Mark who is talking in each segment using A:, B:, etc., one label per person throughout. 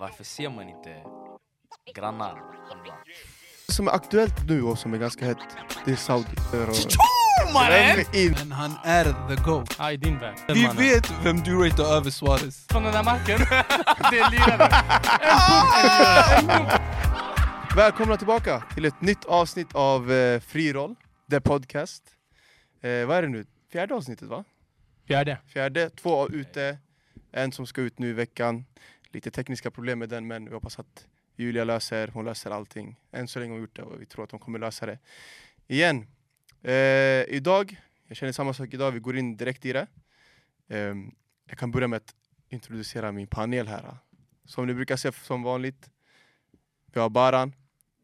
A: varför ser man inte grannar? Han bara,
B: som är aktuellt nu och som är ganska hett, det är Saudi.
C: mannen!
B: Glöm in-
D: Men han är the GOAT.
E: Ja, i din värld.
D: Vi vet vem du ratear över Suarez.
E: Från den där marken. det är lirare.
B: Välkomna tillbaka till ett nytt avsnitt av eh, Friroll, The Podcast. Eh, vad är det nu? Fjärde avsnittet va?
E: Fjärde.
B: Fjärde, två ute, en som ska ut nu i veckan. Lite tekniska problem med den men vi hoppas att Julia löser, hon löser allting. Än så länge har hon gjort det och vi tror att hon kommer lösa det. Igen, eh, idag, jag känner samma sak idag, vi går in direkt i det. Ehm, jag kan börja med att introducera min panel här. Som ni brukar se som vanligt, vi har Baran.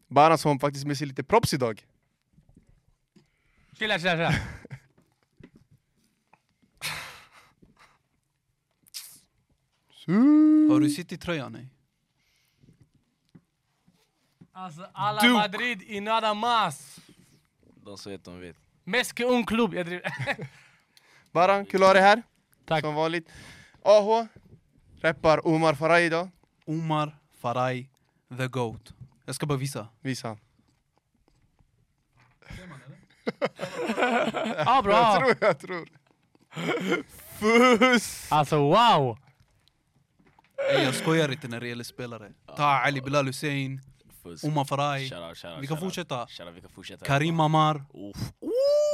B: Baran som faktiskt med sig lite props idag.
E: Chilla, chilla, chilla.
D: Har du City-tröjan? Nej.
E: Alltså, alla
D: Duke.
E: Madrid i nada mas.
A: de som vet de vet.
E: Mest que un club. Jag driver.
B: Baran, kul att ha dig här.
E: Tack.
B: Som vanligt. AH, rappar Omar Faraj idag.
D: Omar Faraj, the GOAT. Jag ska bara visa.
B: Visa.
E: Ja, bra.
B: tror, jag tror. Fuss!
E: Alltså, wow.
D: Nej, jag skojar inte när det gäller spelare. Ta Ali Bilal Hussein,
A: Fusk.
D: Omar Faraj.
A: Shoutout, shoutout,
D: Oh Vi kan
A: shoutout.
D: fortsätta.
A: Shoutout, vi kan fortsätta.
D: Karim Amar.
A: Uff.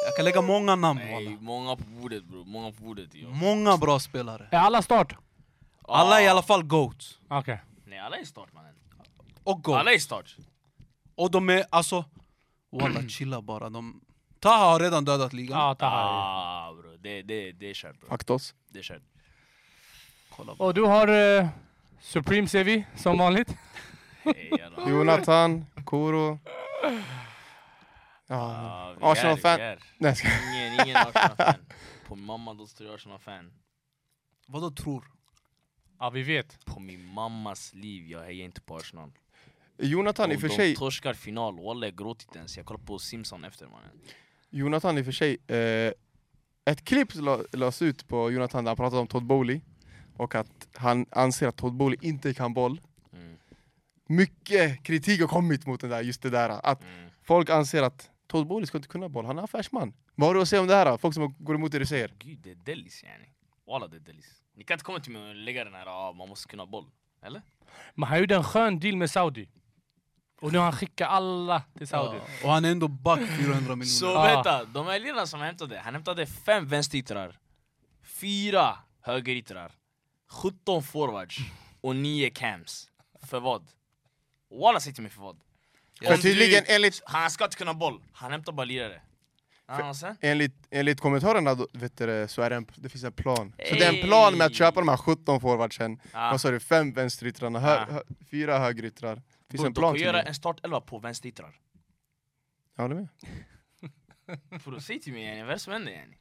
D: Jag kan lägga många namn.
A: Nej,
D: walla.
A: många på bordet bro, många på bordet. Jo.
D: Många bra spelare.
E: Är alla start?
A: Ah.
D: Alla är i alla fall GOAT.
E: Okej.
A: Nej alla är start mannen.
D: Och GOAT.
A: Alla är start.
D: Och de är alltså... Walla, chilla bara. De... Taha har redan dödat ligan.
E: Ja, Taha.
A: Ah bro, det, det, det är kört bro.
B: Aktos.
A: Det är kört.
D: Kolla bara.
E: Och du har eh, Supreme ser vi, som vanligt.
A: Hej, jalla.
B: Jonathan, Koro. Ja.
A: Ah, vi är,
B: Arsenal-fan.
A: vi är.
B: Nej, jag skojar.
A: Ingen, ingen Arsenal-fan. På min mamma då står jag Arsenal-fan.
D: Vadå tror?
E: Ja, vi vet.
A: På min mammas liv, jag hejar inte på Arsenal.
B: Jonathan i och
A: Om
B: för
A: de
B: sig,
A: torskar final, walla jag gråtit ens. Jag kollade på Simpson efter mannen.
B: Jonathan i och för sig eh, ett klipp la- lades ut på Jonathan där han pratade om Todd Bowley och att han anser att Todd Bowley inte kan boll.
A: Mm,
B: Mycket kritik har kommit mot den där, just det där. Att
A: mm.
B: folk anser att Todd Bowley ska inte kunna boll, han är affärsman. Vad har du att säga om det här? Folk som går emot det du säger.
A: Gud det är delis yani. Walla det är delis. Ni kan inte komma till mig och lägga den här, ah, man måste kunna boll. Eller?
E: Men han gjorde en skön deal med Saudi. Och nu har han skickat alla till Saudi.
D: Ja, Ah. Och han är ändå back 400 miljoner.
A: Så
E: Ah.
A: vänta, de här lirarna som han hämtade, han hämtade fem vänsteryttrar, fyra högeryttrar, 17 forwards och nio cams. För vad? Walla säg till mig för vad?
D: Ja.
B: För tydligen
A: du-
B: enligt
A: Han ska inte kunna boll, han hämtar bara lirare. Ah, och sen?
B: Enligt, enligt kommentarerna då, vet du, det, så är det, en, det finns en plan. Så det är
A: Ey!
B: en plan med att köpa de här 17 forwardsen.
A: Ah.
B: Vad sa du? Fem vänsteryttrar, hö,
A: Ah.
B: hö, fyra högeryttrar. Det finns
A: Bro,
B: en
A: de
B: plan
A: kan
B: till
A: göra
B: det.
A: en startelva på vänsteryttrar.
B: Jag håller med.
A: Bro, säg till mig yani, vad är det som händer yani?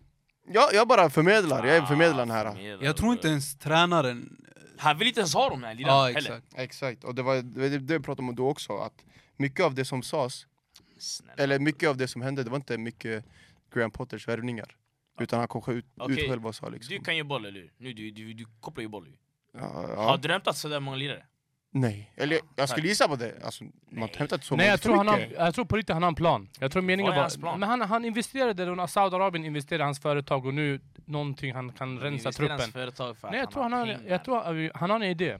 B: Ja, jag bara förmedlar, jag är förmedlaren
A: Ah,
B: här.
A: förmedlare,
D: Jag tror inte
A: bro.
D: ens tränaren...
A: Han vill inte ens ha de här lirarna
D: Ja,
A: heller.
D: exakt.
B: Exakt, och det var det, det pratade man då också, att mycket av det som sades,
A: Snälla.
B: eller mycket av det som hände, det var inte mycket Graham Potters värvningar. Utan han kom sj- ut,
A: Okej,
B: ut själv och sa liksom...
A: Du kan ju boll eller hur? Nu, du, du, du kopplar ju boll ju.
B: Ja,
A: Har
B: ja,
A: du hämtat sådär många lirare?
B: nej, eller jag, jag skulle gissa på det. Alltså, man har
A: Nej.
B: inte hämtat så
E: Nej,
B: många
E: jag tror, han har,
B: historiker.
E: jag tror på riktigt han har en plan. Jag tror meningen
A: Vad är hans
E: var...
A: plan?
E: Men han, han investerade, då när Saudiarabien investerade i hans företag och nu någonting han kan rensa
A: Investera i hans
E: truppen.
A: Företag för att
E: Nej, jag tror, han har,
A: pengar.
E: jag tror han- han har en idé.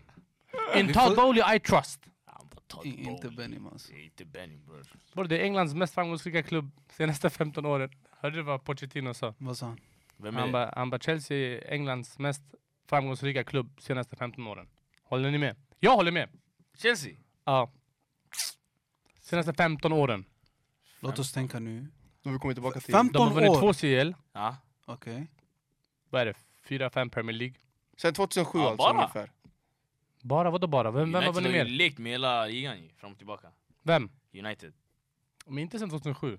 E: In
D: Vi
E: Todd
D: får-
E: Bowley I trust.
A: Han var Todd
D: I- Inte
A: Bowley.
D: Benny Mans.
A: Det är Inte Benny bror.
E: Bror, Det är Englands mest framgångsrika klubb senaste 15 åren. Hörde du vad Pochettino sa?
D: Vad sa han?
A: Vem är
E: Han
A: det?
E: bara, han bara Chelsea är Englands mest framgångsrika klubb senaste 15 åren. Håller ni med? Jag håller med!
A: Chelsea?
E: Ja. Senaste 15 åren.
D: Låt oss tänka nu.
B: Då vi kommer tillbaka till...
D: 15
E: De har vunnit två
D: år?
E: CL.
A: Ja.
D: Okej.
E: Vad är det? Fyra, fem Premier League.
B: Sen 2007
A: Ja,
B: alltså
A: bara.
B: ungefär.
E: Bara vadå bara? Vem, vem har
A: United
E: vunnit
A: har ju
E: mer?
A: lekt med hela ligan ju, fram och tillbaka.
E: Vem?
A: United.
E: Men inte sen 2007.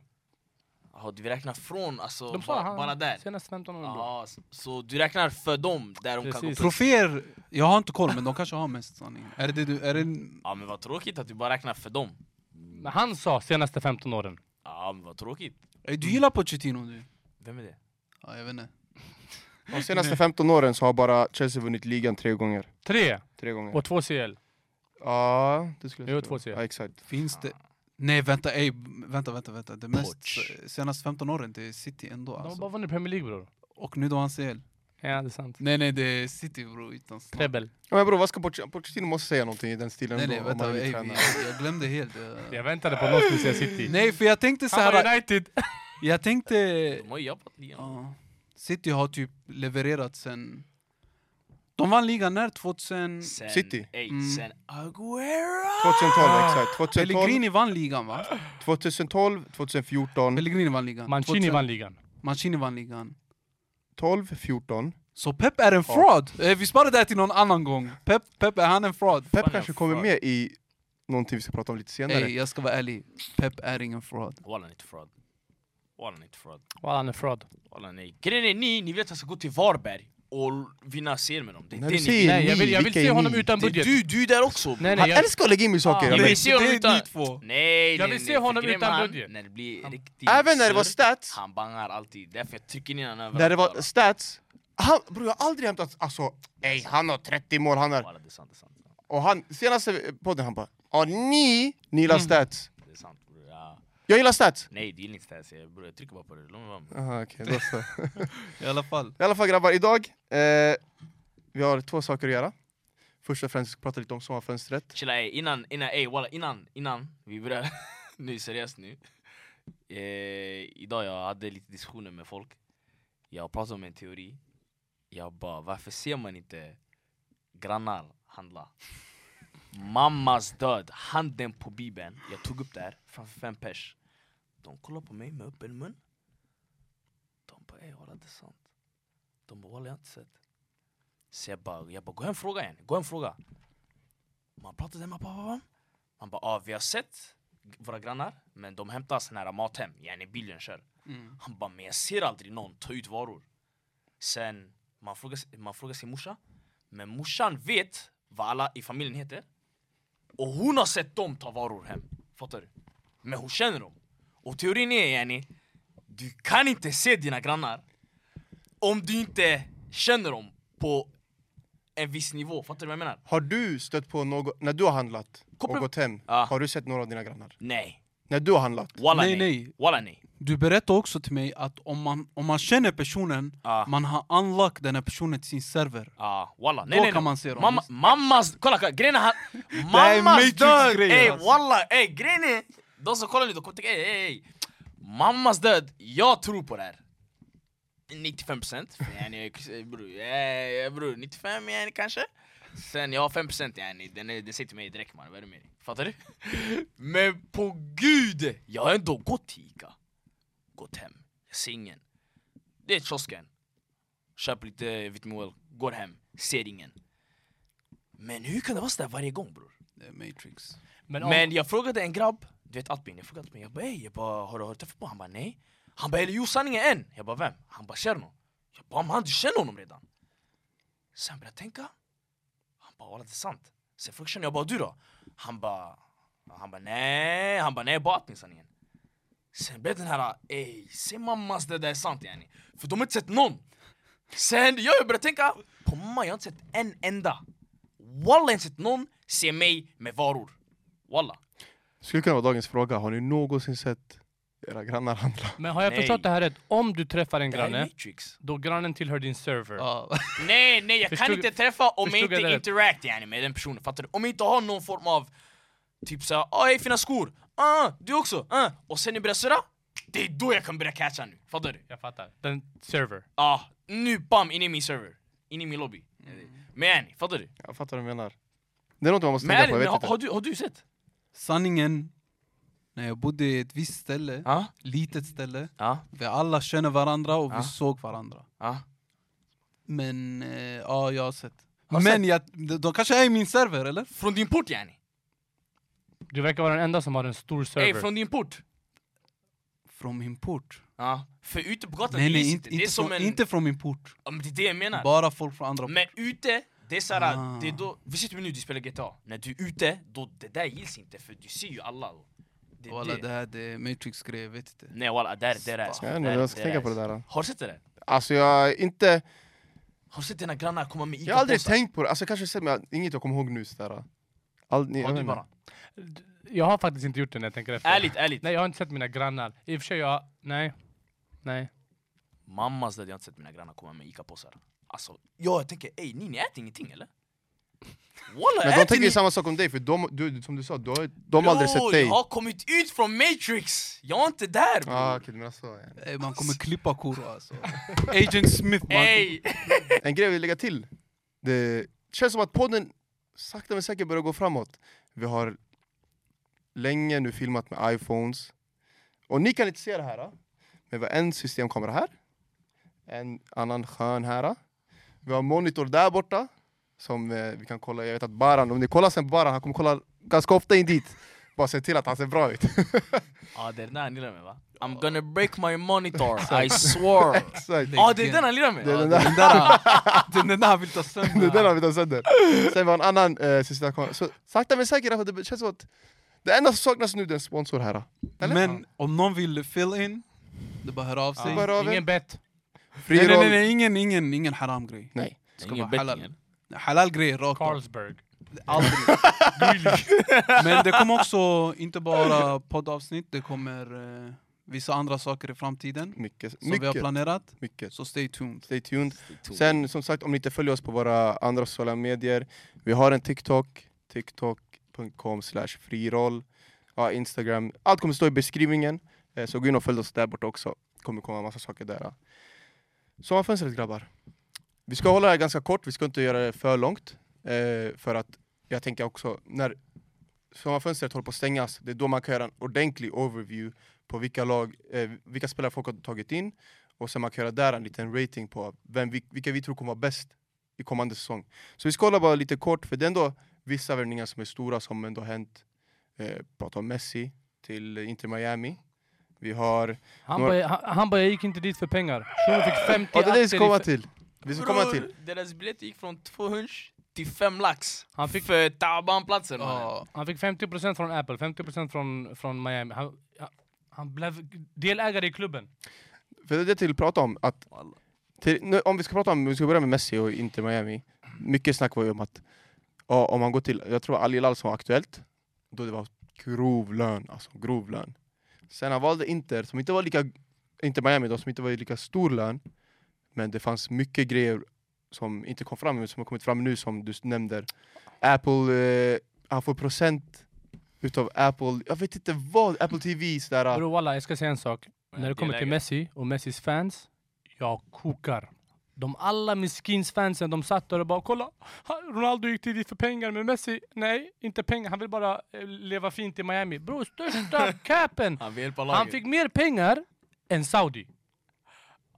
A: Jaha, du räknar från alltså,
E: De sa
A: bara,
E: han-
A: bara där?
E: Senaste 15 åren. bror.
A: Jaha, s- så du räknar för dem där de kan gå
E: Precis.
A: plus?
D: Troféer, jag har inte koll men de kanske har mest sanning. Är det du, är det...
A: Ja men vad tråkigt att du bara räknar för dem.
E: Men han sa senaste 15 åren.
A: Ja men vad tråkigt.
D: Eh, Du gillar Pochettino du?
A: Vem är det?
D: Ja, jag vet inte.
B: De senaste 15 åren så har bara Chelsea vunnit ligan tre gånger.
E: Tre
B: Tre gånger.
E: och två CL.
B: Ja, det skulle
E: Jo,
B: tro.
E: 2-3.
B: Ja, exakt.
D: Finns det... Nej vänta, ej, vänta, vänta, vänta. Det mest,
A: Poch.
D: senaste 15 åren, det är City ändå
E: De har
D: alltså.
E: bara vunnit Premier League bror.
D: Och nu då han CL.
E: Ja det är sant.
D: Nej nej, det är City bro, utan snack.
E: Treble.
B: Ja, men bror, vad ska Poch- Pochettino måste säga någonting i den stilen
D: Nej
B: ändå,
D: nej,
B: om han
D: vänta,
B: vill
D: ej,
B: träna.
D: vi- jag glömde helt.
E: Jag
D: eh.
E: väntade på att någon skulle säga City.
D: Nej för jag tänkte så
E: Han var
D: här.
E: United!
D: jag tänkte...
A: De har ju jobbat ligan.
D: Ja. City har typ levererat sen... De vann ligan när? 2000...
A: Sen,
B: City.
A: Ey,
D: Mm.
A: sen Aguero!
B: 2012, exakt. 2012,
D: Pellegrini vann ligan va?
B: 2012 2014,
D: Pellegrini vann ligan.
E: Mancini
D: 2000
E: vann ligan.
D: Mancini vann ligan.
B: 12, 14.
D: Så Pep är en
B: Ja.
D: fraud! Eh, vi sparar det här till någon annan gång. Pep, Pep är han en fraud?
B: Pep
A: Fan,
B: kanske
A: jag
B: kommer
A: fuck.
B: med i någonting vi ska prata om lite senare.
D: Ey, jag ska vara ärlig. Pep är ingen fraud.
A: Walla, ni är inte fraud. Walla, ni är inte fraud.
E: Walla han är fraud.
A: Walla, nej. Grejen är ni, ni vet att jag ska gå till Varberg och vinna serier med dem. Det är
B: När
A: det
B: du
A: ni
B: säger
E: Nej jag
B: ni,
E: vill, jag vill
B: vilka
E: se
B: är
E: honom
B: ni?
E: utan
A: Det är
E: budget.
A: du, du där också!
E: Nej nej
B: Han
E: jag,
B: älskar att lägga in mig i saker!
A: Ah,
B: eller?
A: men-
D: Nej,
A: ser honom
D: det är
A: utan-
D: ni två.
A: Nej,
E: Jag
A: nej,
E: vill
A: nej,
E: se
A: för
E: honom
A: grejen
E: utan
A: med han,
E: budget.
A: När det blir
E: Han-
A: riktigt
B: Även när det var
A: surr,
B: stats,
A: Han bangar alltid, därför jag trycker ner honom överallt.
B: när det var
A: Walla.
B: stats, han, bror jag har aldrig hämtat, alltså, ey han har 30 mål, han har...
A: Walla, det är sant, det är sant.
B: Och han, senaste podden han bara, ja ni, ni gillar stats.
A: Det är sant bror. Ja.
B: Jag gillar stats!
A: Nej det är inte stats, jag, bror, jag trycker bara på det. Låt mig vara med.
B: Aha, okay, då så.
D: I alla fall.
B: I alla fall grabbar, idag, eh, vi har två saker att göra. Först och främst ska vi prata lite om sommarfönstret.
A: Chilla ey, innan, innan, ey walla, innan, innan vi börjar. nu, seriöst nu. Eh, idag jag hade lite diskussioner med folk. Jag pratade om en teori. Jag bara, varför ser man inte grannar handla? Mammas död, handen på bibeln. Jag tog upp det här framför fem pers. De kollar på mig med öppen mun. De bara, ey walla det är sant. De bara, walla jag har inte sett. Så jag bara, jag bara gå hem och fråga igen, gå hem och fråga. Man pratade med pappa. Man bara, ah, vi har sett våra grannar, men de hämtar sån här mathem, yani bilen kör.
D: Mm.
A: Han bara, men jag ser aldrig någon ta ut varor. Sen, man frågar, s- man frågar sin morsa. Men morsan vet vad alla i familjen heter. Och hon har sett dem ta varor hem. Fattar du? Men hon känner dem. Och teorin är yani, du kan inte se dina grannar om du inte känner dem på en viss nivå. Fattar du vad jag menar?
B: Har du stött på något, när du har handlat och
A: Koppla-
B: gått hem,
A: Ja.
B: har du sett några av dina grannar?
A: Nej.
B: När du har handlat?
A: Walla
D: Nej,
A: nej.
D: nej.
A: Walla nej.
D: Du berättade också till mig att om man, om man känner personen,
A: Ah.
D: man har unlock den här personen till sin server.
A: Ah, walla. Nej,
D: Då
A: nej, nej.
D: kan man se dem,
A: Mamma,
D: just
A: mammas... Kolla, kolla grejen är han...
D: här är
A: Mammas död!
D: Matrix-grejen,
A: Ey
D: alltså.
A: walla, ey grejen är... De som kollar nu, de kommer tänka ey, ey, ey. Mammas död, jag tror på det här. 95% yani, bror, eh, bror, 95 yani kanske? Sen jag har 5% yani, den, är, den säger till mig direkt man, vad är det med dig? Fattar du? Men på gud! Jag har ändå gått till Ica, gått hem, jag ser ingen. Det är kiosken, köper lite vitamin oil, går hem, ser ingen. Men hur kan det vara sådär varje gång bror?
D: Det är Eh, Matrix.
E: Men, om,
A: Men jag frågade en grabb, du vet Albin, jag frågade Albin, jag bara "Ey, jag bara, har du har du träffat på honom? Han bara nej. Han bara eller jo sanningen är en. Jag bara vem? Han bara Cherno. Jag bara man du känner honom redan. Sen började jag tänka. Han bara walla det är sant. Sen frågade jag, jag bara du då? Han bara, han bara nej, han bara nej bara Albin sanningen. Sen blev den här, ey, se mammas det där är sant yani. För de har inte sett någon. Sen jag började tänka, på mamma jag har inte sett en enda. Walla jag har inte sett någon se mig med varor. Walla.
B: Skulle kunna vara dagens fråga, har ni någonsin sett era grannar handla?
E: men har jag
A: Nej.
E: förstått det här rätt? Om du träffar en
A: Det här är
E: granne,
A: Matrix.
E: då grannen tillhör din server.
D: Ah.
A: Nej, nej jag kan
E: Förstod-
A: inte träffa om jag
E: förstod
A: inte
E: jag det rätt?
A: interact yani, med den personen, fattar du? Om jag inte har någon form av typ såhär, ah hej fina skor, ah du också, ah och sen ni börjar surra, det är då jag kan börja catcha nu, fattar du?
E: Jag fattar. Den server.
A: Ah, nu bam, in i min server, in i min lobby. Men yani, fattar du?
B: Jag fattar vad du menar. Det är något man måste
A: Men
B: tänka
A: ärligt,
B: på, jag
A: men,
B: vet
A: har, har,
B: inte.
A: du, har du sett?
D: Sanningen, när jag bodde i ett visst ställe,
A: Ja,
D: litet ställe,
A: ja,
D: vi alla känner varandra och vi
A: Ah.
D: såg varandra.
A: ja.
D: Men eh, ja, jag har sett.
A: Har
D: men Jag, de, de kanske är i min server eller?
A: Från din port yani.
E: Du verkar vara den enda som har en stor server.
A: Ey, från din port.
D: Från min port.
A: Ja, för ute på gatan,
D: Nej
A: det är
D: nej,
A: inte,
D: inte,
A: det är
D: inte,
A: som
D: från,
A: en...
D: inte från min port.
A: Ja, men det är det jag menar.
D: Bara folk från andra
A: Men ute, det är såhär,
D: Ah.
A: det är då, vi sitter nu du spelar GTA, när du är ute, då det där gills inte för du ser ju alla då. Det, är
D: Walla
A: det.
D: det här det är Matrix-grejer, jag vet inte.
A: Nej walla, där, där är
B: Jag, vet inte, jag ska tänka på det där. då.
A: Har du sett det där?
B: Alltså jag är inte...
A: Har du sett dina grannar komma med
B: Jag har aldrig
A: Ica-påsar?
B: tänkt på det, alltså jag kanske sett men jag- inget jag kommer ihåg nu sådär. All, ni, jag
A: Har
B: vet
A: du
B: inte.
A: bara?
E: Jag har faktiskt inte gjort det när jag tänker efter.
A: Ärligt, ärligt.
E: Nej, jag har inte sett mina grannar. I och för sig, jag... Nej. Nej.
A: Mammas död, jag har inte sett mina grannar komma med ICA-påsar. Alltså, ja, jag tänker ey ni, ni äter ingenting eller? Walla,
B: Men de
A: äter
B: tänker
A: ni?
B: ju samma sak om dig, för de, du, som du sa, du har, de har aldrig
A: Bror,
B: sett dig.
A: Jag har kommit ut från Matrix! Jag är inte där bror!
B: Ah, okej, du menar så, ja.
D: Ey, Eh, man kommer klippa kor alltså. Agent Smith man.
A: Ey!
B: En grej jag vill lägga till. Det känns som att podden sakta men säkert börjar gå framåt. Vi har länge nu filmat med iPhones. Och ni kan inte se det här. då. Men vi har en systemkamera här. En annan skön här. ah. Vi har en monitor där borta. Som eh, vi kan kolla. Jag vet att Baran, om ni kollar sen på Baran, han kommer kolla ganska ofta in dit. Bara se till att han ser bra ut.
A: Ja det är den han lirar med va? I'm gonna break my monitor, I swear!
B: Exakt.
A: Ja det är den han lirar med!
B: Det är den
A: Ja,
B: där.
D: Den där, den den där vill ta
B: Det
D: sönder.
B: är den har vi tagit sönder. Sen var en annan eh, systemkamera. Så sakta men säkert, alltså, det känns som att det enda som saknas nu det är en sponsor här. Eller?
D: Men om någon vill fill in, det bara hör av sig.
B: bara av er.
E: Ingen bett.
B: Fri
D: Nej, nej, nej,
B: roll.
D: nej, ingen, ingen, ingen haram grej.
B: Nej.
A: det är
D: Ska
A: ingen
D: vara
A: betting
D: halal.
A: eller?
D: Halal grejer rakt av.
E: Carlsberg.
D: Aldrig. Men det kommer också inte bara poddavsnitt, det kommer eh, vissa andra saker i framtiden.
B: Mycket.
D: Som vi har
B: Mycket.
D: planerat,
B: mycket.
D: så stay tuned.
B: Stay tuned.
A: tuned.
B: Sen som sagt, om ni inte följer oss på våra andra sociala medier. Vi har en TikTok. TikTok.com slash friroll. Ja, Instagram. Allt kommer stå i beskrivningen. Eh, Så gå in och följ oss där borta också. Det kommer komma massa saker där. ja. Sommarfönstret grabbar. Vi ska hålla det här ganska kort. Vi ska inte göra det för långt. Eh, För att jag tänker också, när sommarfönstret håller på att stängas, det är då man kan göra en ordentlig overview på vilka, lag, eh, vilka spelare folk har tagit in och sen man kan göra där en liten rating på vem, vi- vilka vi tror kommer vara bäst i kommande säsong. Så vi ska hålla bara lite kort, för det är ändå vissa värvningar som är stora som ändå har hänt. Eh, prata om Messi till Inter Miami. Vi har...
E: Han
B: Några-
E: bara, han, han bara, jag gick inte dit för pengar. Shunon fick 50
B: Ja, det är det vi
E: aktier
B: ska
E: i
B: komma
E: fe-
B: till! Vi ska komma
A: Bror,
B: till.
A: Deras biljetter gick från 200 till 5 lax.
E: Han fick-
A: För Taban-platsen mannen.
D: Ja,
E: Han fick 50% från Apple, 50% från, från Miami. Han, ja, han blev delägare i klubben.
B: För det är det till att prata om. Att, till, nu, om vi ska prata om, vi ska börja med Messi och Inter Miami. Mycket snack var ju om att ja, om man går till, jag tror Al Hilal som var aktuellt, då det var grov lön, alltså grov lön. Sen han valde Inter, som inte var lika, Inter Miami då, som inte var lika stor lön, men det fanns mycket grejer som inte kom fram, men som har kommit fram nu som du nämnde. Apple, eh, han får procent utav Apple, jag vet inte vad, Apple TV sådär.
E: Bror walla, jag ska säga en sak.
A: Men
E: När det kommer till
A: delägare.
E: Messi och Messis fans, jag kokar. De alla miskins fansen, de satt där och bara kolla, ha- Ronaldo gick till dit för pengar, men Messi, nej, inte pengar. Han vill bara eh, leva fint i Miami. Bror, största capen!
A: Han vill hjälpa laget.
E: Han fick mer pengar än Saudi.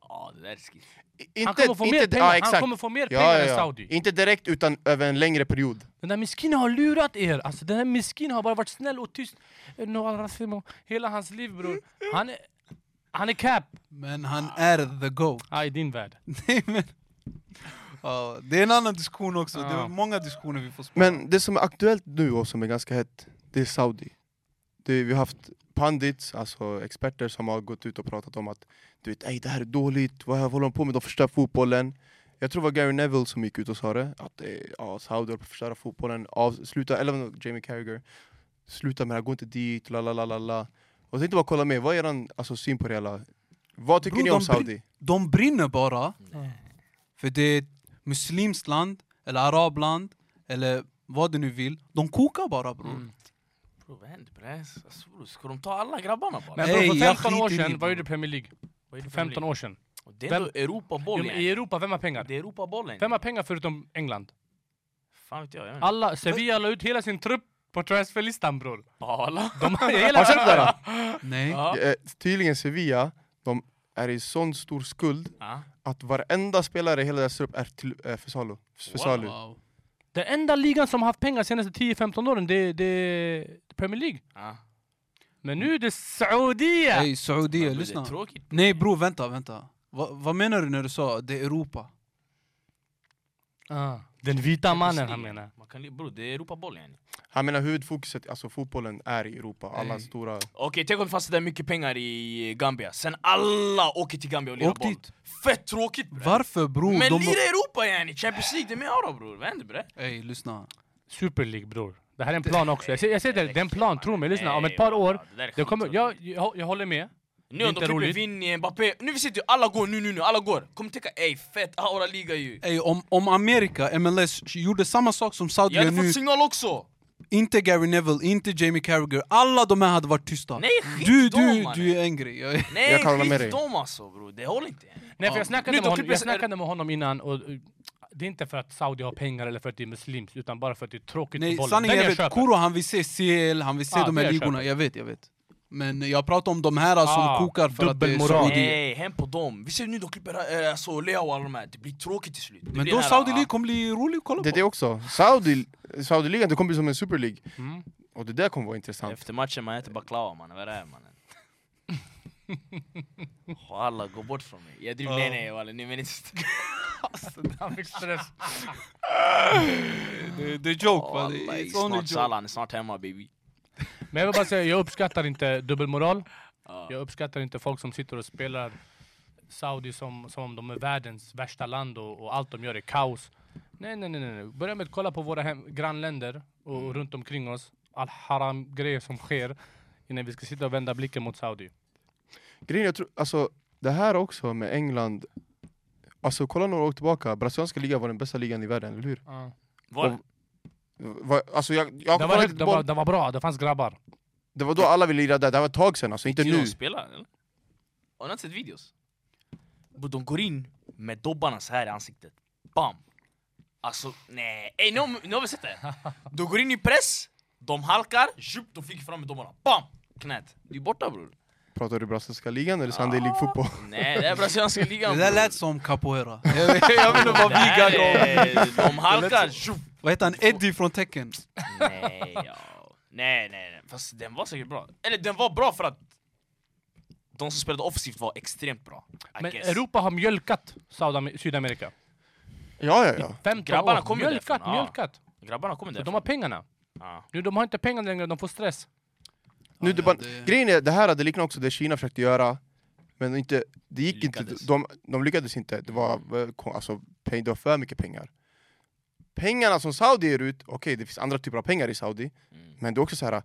A: Ja det där är skit.
B: Inte,
E: Han kommer få mer
B: inte-
E: pengar,
B: ja,
E: han
B: exakt.
E: kommer få mer
B: Ja,
E: pengar
B: ja,
E: än
B: ja.
E: Saudi.
B: Inte direkt, utan över en längre period.
E: Den där miskinen har lurat er! Alltså den där miskinen har bara varit snäll och tyst. Eh, Några rassimo. Hela hans liv bror. Han är, han är cap!
D: men han är the GOAT.
E: Ja, i din värld.
D: Nej, men, ja, det är en annan diskussion också, det
E: Ja.
D: är många diskussioner vi får spara.
B: Men det som är aktuellt nu och som är ganska hett, det är Saudi. Det, vi har haft pandits, alltså experter, som har gått ut och pratat om att du vet, Ej, det här är dåligt, vad håller de på med? De förstör fotbollen. Jag tror det var Gary Neville som gick ut och sa det, att eh, ja, Saudi håller på att förstöra fotbollen, Av, sluta, eller vad- Jamie Carragher, sluta med det här, gå inte dit, la la la la la. Och jag tänkte bara kolla med, vad är er alltså, syn på det hela? Vad tycker
D: Bror,
B: ni om
D: de
B: Saudi?
D: De brinner bara,
E: Mm.
D: för det är ett muslimskt land, eller arabland, eller vad du nu vill. De kokar bara bror.
A: Mm. Bror vad händer bre? Alltså, bror, ska de ta alla grabbarna bara?
E: Men
D: Nej,
E: bror, för
D: jag
E: 15 år
D: skiter i det,
E: sedan, vad
D: bror.
E: gjorde Premier League?
A: Vad är
E: För
A: det för
E: 15
A: liga?
E: år sedan.
A: Och Det är ändå
E: Jo,
A: Europaboll
E: men I
A: yani.
E: Europa, vem har pengar?
A: Det är Mm. Europabollen.
E: Vem har pengar förutom England?
A: Fan vet jag, jag vet inte.
E: Alla, Sevilla la ut hela sin trupp på transferlistan bror.
A: Alla.
E: De har
B: Har
E: hela...
B: du sett det där? då?
D: Nej.
A: Ja.
B: Eh, tydligen Sevilla, de är i sån stor skuld
A: Ja.
B: att varenda spelare i hela deras trupp är till, eh, för salu. För salu.
D: Wow.
E: Den enda ligan som har haft pengar senaste 10-15 åren, det, det är Premier League.
A: Ja.
E: Men nu är det Saudiya!
D: Ey, Saudier,
A: Men Det
D: lyssna.
A: är tråkigt.
D: Nej bror, vänta, vänta. Va, vad menar du när du sa det är Europa?
E: Ah, den vita mannen han menar.
A: Man kan, li- bror, det är Europaboll yani.
B: Han menar huvudfokuset, alltså fotbollen är i Europa. Alla
D: Ey.
B: stora...
A: Okej, tänk om det fanns där mycket pengar i Gambia. Sen alla åker till Gambia och lirar
D: Åk
A: boll.
D: dit.
A: Fett tråkigt bre.
D: Varför bror?
A: Men
D: de...
A: lira Europa yani. Champions League, det är mer ara bror. Vad händer bre?
D: Ey, lyssna.
E: Super League bror. Det här är en plan också. Jag ser, jag ser det, det är en plan, tro mig. Lyssna, om ett par år, det kommer, jag, jag, jag håller med.
A: Nu om
E: inte
A: de klipper
E: roligt.
A: Vinny, Mbappé, nu sitter ju alla går nu, nu, nu, alla går. Kommer tänka ey, fett aura liga ju.
D: Ey, om, om Amerika, MLS, gjorde samma sak som Saudi
A: Jag
D: gör
A: hade
D: nu,
A: fått signal också!
D: inte Gary Neville, inte Jamie Carragher, alla de här hade varit tysta.
A: Nej skit
D: du,
A: dem
D: du,
A: mannen.
D: du är en grej. Jag är-
A: Nej
B: Jag kan hålla med
A: skit
B: dig.
A: dem alltså bror, det håller inte.
E: Nej för jag snackade,
A: Nu,
E: med
A: de
E: honom,
A: klipper
E: jag
A: sig-
E: snackade med honom innan och eh, det är inte för att Saudi har pengar eller för att det är muslims utan bara för att det är tråkigt
D: Nej,
E: för bollen.
D: sanningen
E: Den
D: jag vet.
E: köper.
D: Kuro han vill se CL, han vill se
E: Ah,
D: de
E: det
D: här
E: jag
D: ligorna.
E: köper.
D: Jag vet, jag vet. Men jag pratar om de här
E: Ah,
D: som kokar för att det är
E: dubbelmoral.
D: Saudi.
A: Nej, hem på dem. Vi ser nu de klipper äh, så Lea och alla de här, det blir tråkigt till slut. Det
D: Men
A: blir
D: då
A: den här,
D: Saudi
A: ah,
D: League kommer bli rolig att kolla
B: Det är
D: på.
B: det också. Saudi- Saudi-ligan, det kommer bli som en Super League.
E: Mm.
B: Och det där kommer vara intressant.
A: Efter matchen man äter baklava mannen, vad är det här mannen? Och alla går bort från mig. Jag driver, nej nej walla, ni menar inte...
E: Han fick stress.
D: Det, det är joke va?
A: Walla,
D: Det är
A: jag är
D: it's only
A: snart
D: joke.
A: Salah, han är snart hemma baby.
E: Men jag vill bara säga, jag uppskattar inte dubbelmoral.
A: Ja.
E: Jag uppskattar inte folk som sitter och spelar Saudi som, som om de är världens värsta land och, och allt de gör är kaos. Nej, nej, nej. nej, nej. Börja med att kolla på våra hem, grannländer och
A: Mm.
E: runt omkring oss. All haram-grejer som sker innan vi ska sitta och vända blicken mot Saudi.
B: Grejen är, jag tror, alltså det här också med England. Alltså kolla några år tillbaka, brasilianska ligan var den bästa ligan i världen, eller hur?
A: Var,
B: Va, alltså jag, jag
E: Det var,
B: kollar
E: högt,
B: inte
E: det,
B: på,
E: var, det var bra, det fanns grabbar.
B: det var då alla ville lira där, det här var ett tag sedan alltså, inte
A: Till
B: nu.
A: de spelar eller? Har ni inte sett videos? Bro, de går in med dobbarna så här i ansiktet. Bam! Alltså nej, Ey, nu, har- nu har vi sett det. De går in i press, de halkar, tjup, de flyger fram med dobbarna. Bam! Knät. Det är borta bror.
B: Pratar du brasilianska ligan eller Sunday League fotboll?
A: Nej, det är brasilianska ligan.
D: Det där
A: bror.
D: lät som capoeira. jag vet- jag ville vara
A: Det här
D: vegan.
A: är- De halkar, tjup.
D: Vad heter han? Eddie från Tekken.
A: Nej, ja. nej, nej, nej. Fast den var säkert bra. Eller den var bra för att de som spelade offensivt var extremt bra. I
E: Men
A: guess.
E: Europa har mjölkat Saudam- Sydamerika.
B: Ja, ja, ja.
E: 15
A: Grabbarna
E: år.
A: kommer ju
E: mjölkat,
A: därifrån, ja.
E: mjölkat.
A: Grabbarna kommer
E: För
A: därifrån.
E: de har pengarna.
A: Ja.
E: Nu, de har inte pengar längre, de får stress.
B: Nu, det
D: ja,
B: bara,
D: det-
B: Grejen är, det här hade liknat också det Kina försökte göra. Men inte, det gick
A: Lyckades.
B: inte, de, de lyckades inte. Det var, eh, ko- alltså, peng, det var för mycket pengar. Pengarna som Saudi ger ut, okej det finns andra typer av pengar i Saudi.
A: Mm.
B: Men det är också så här,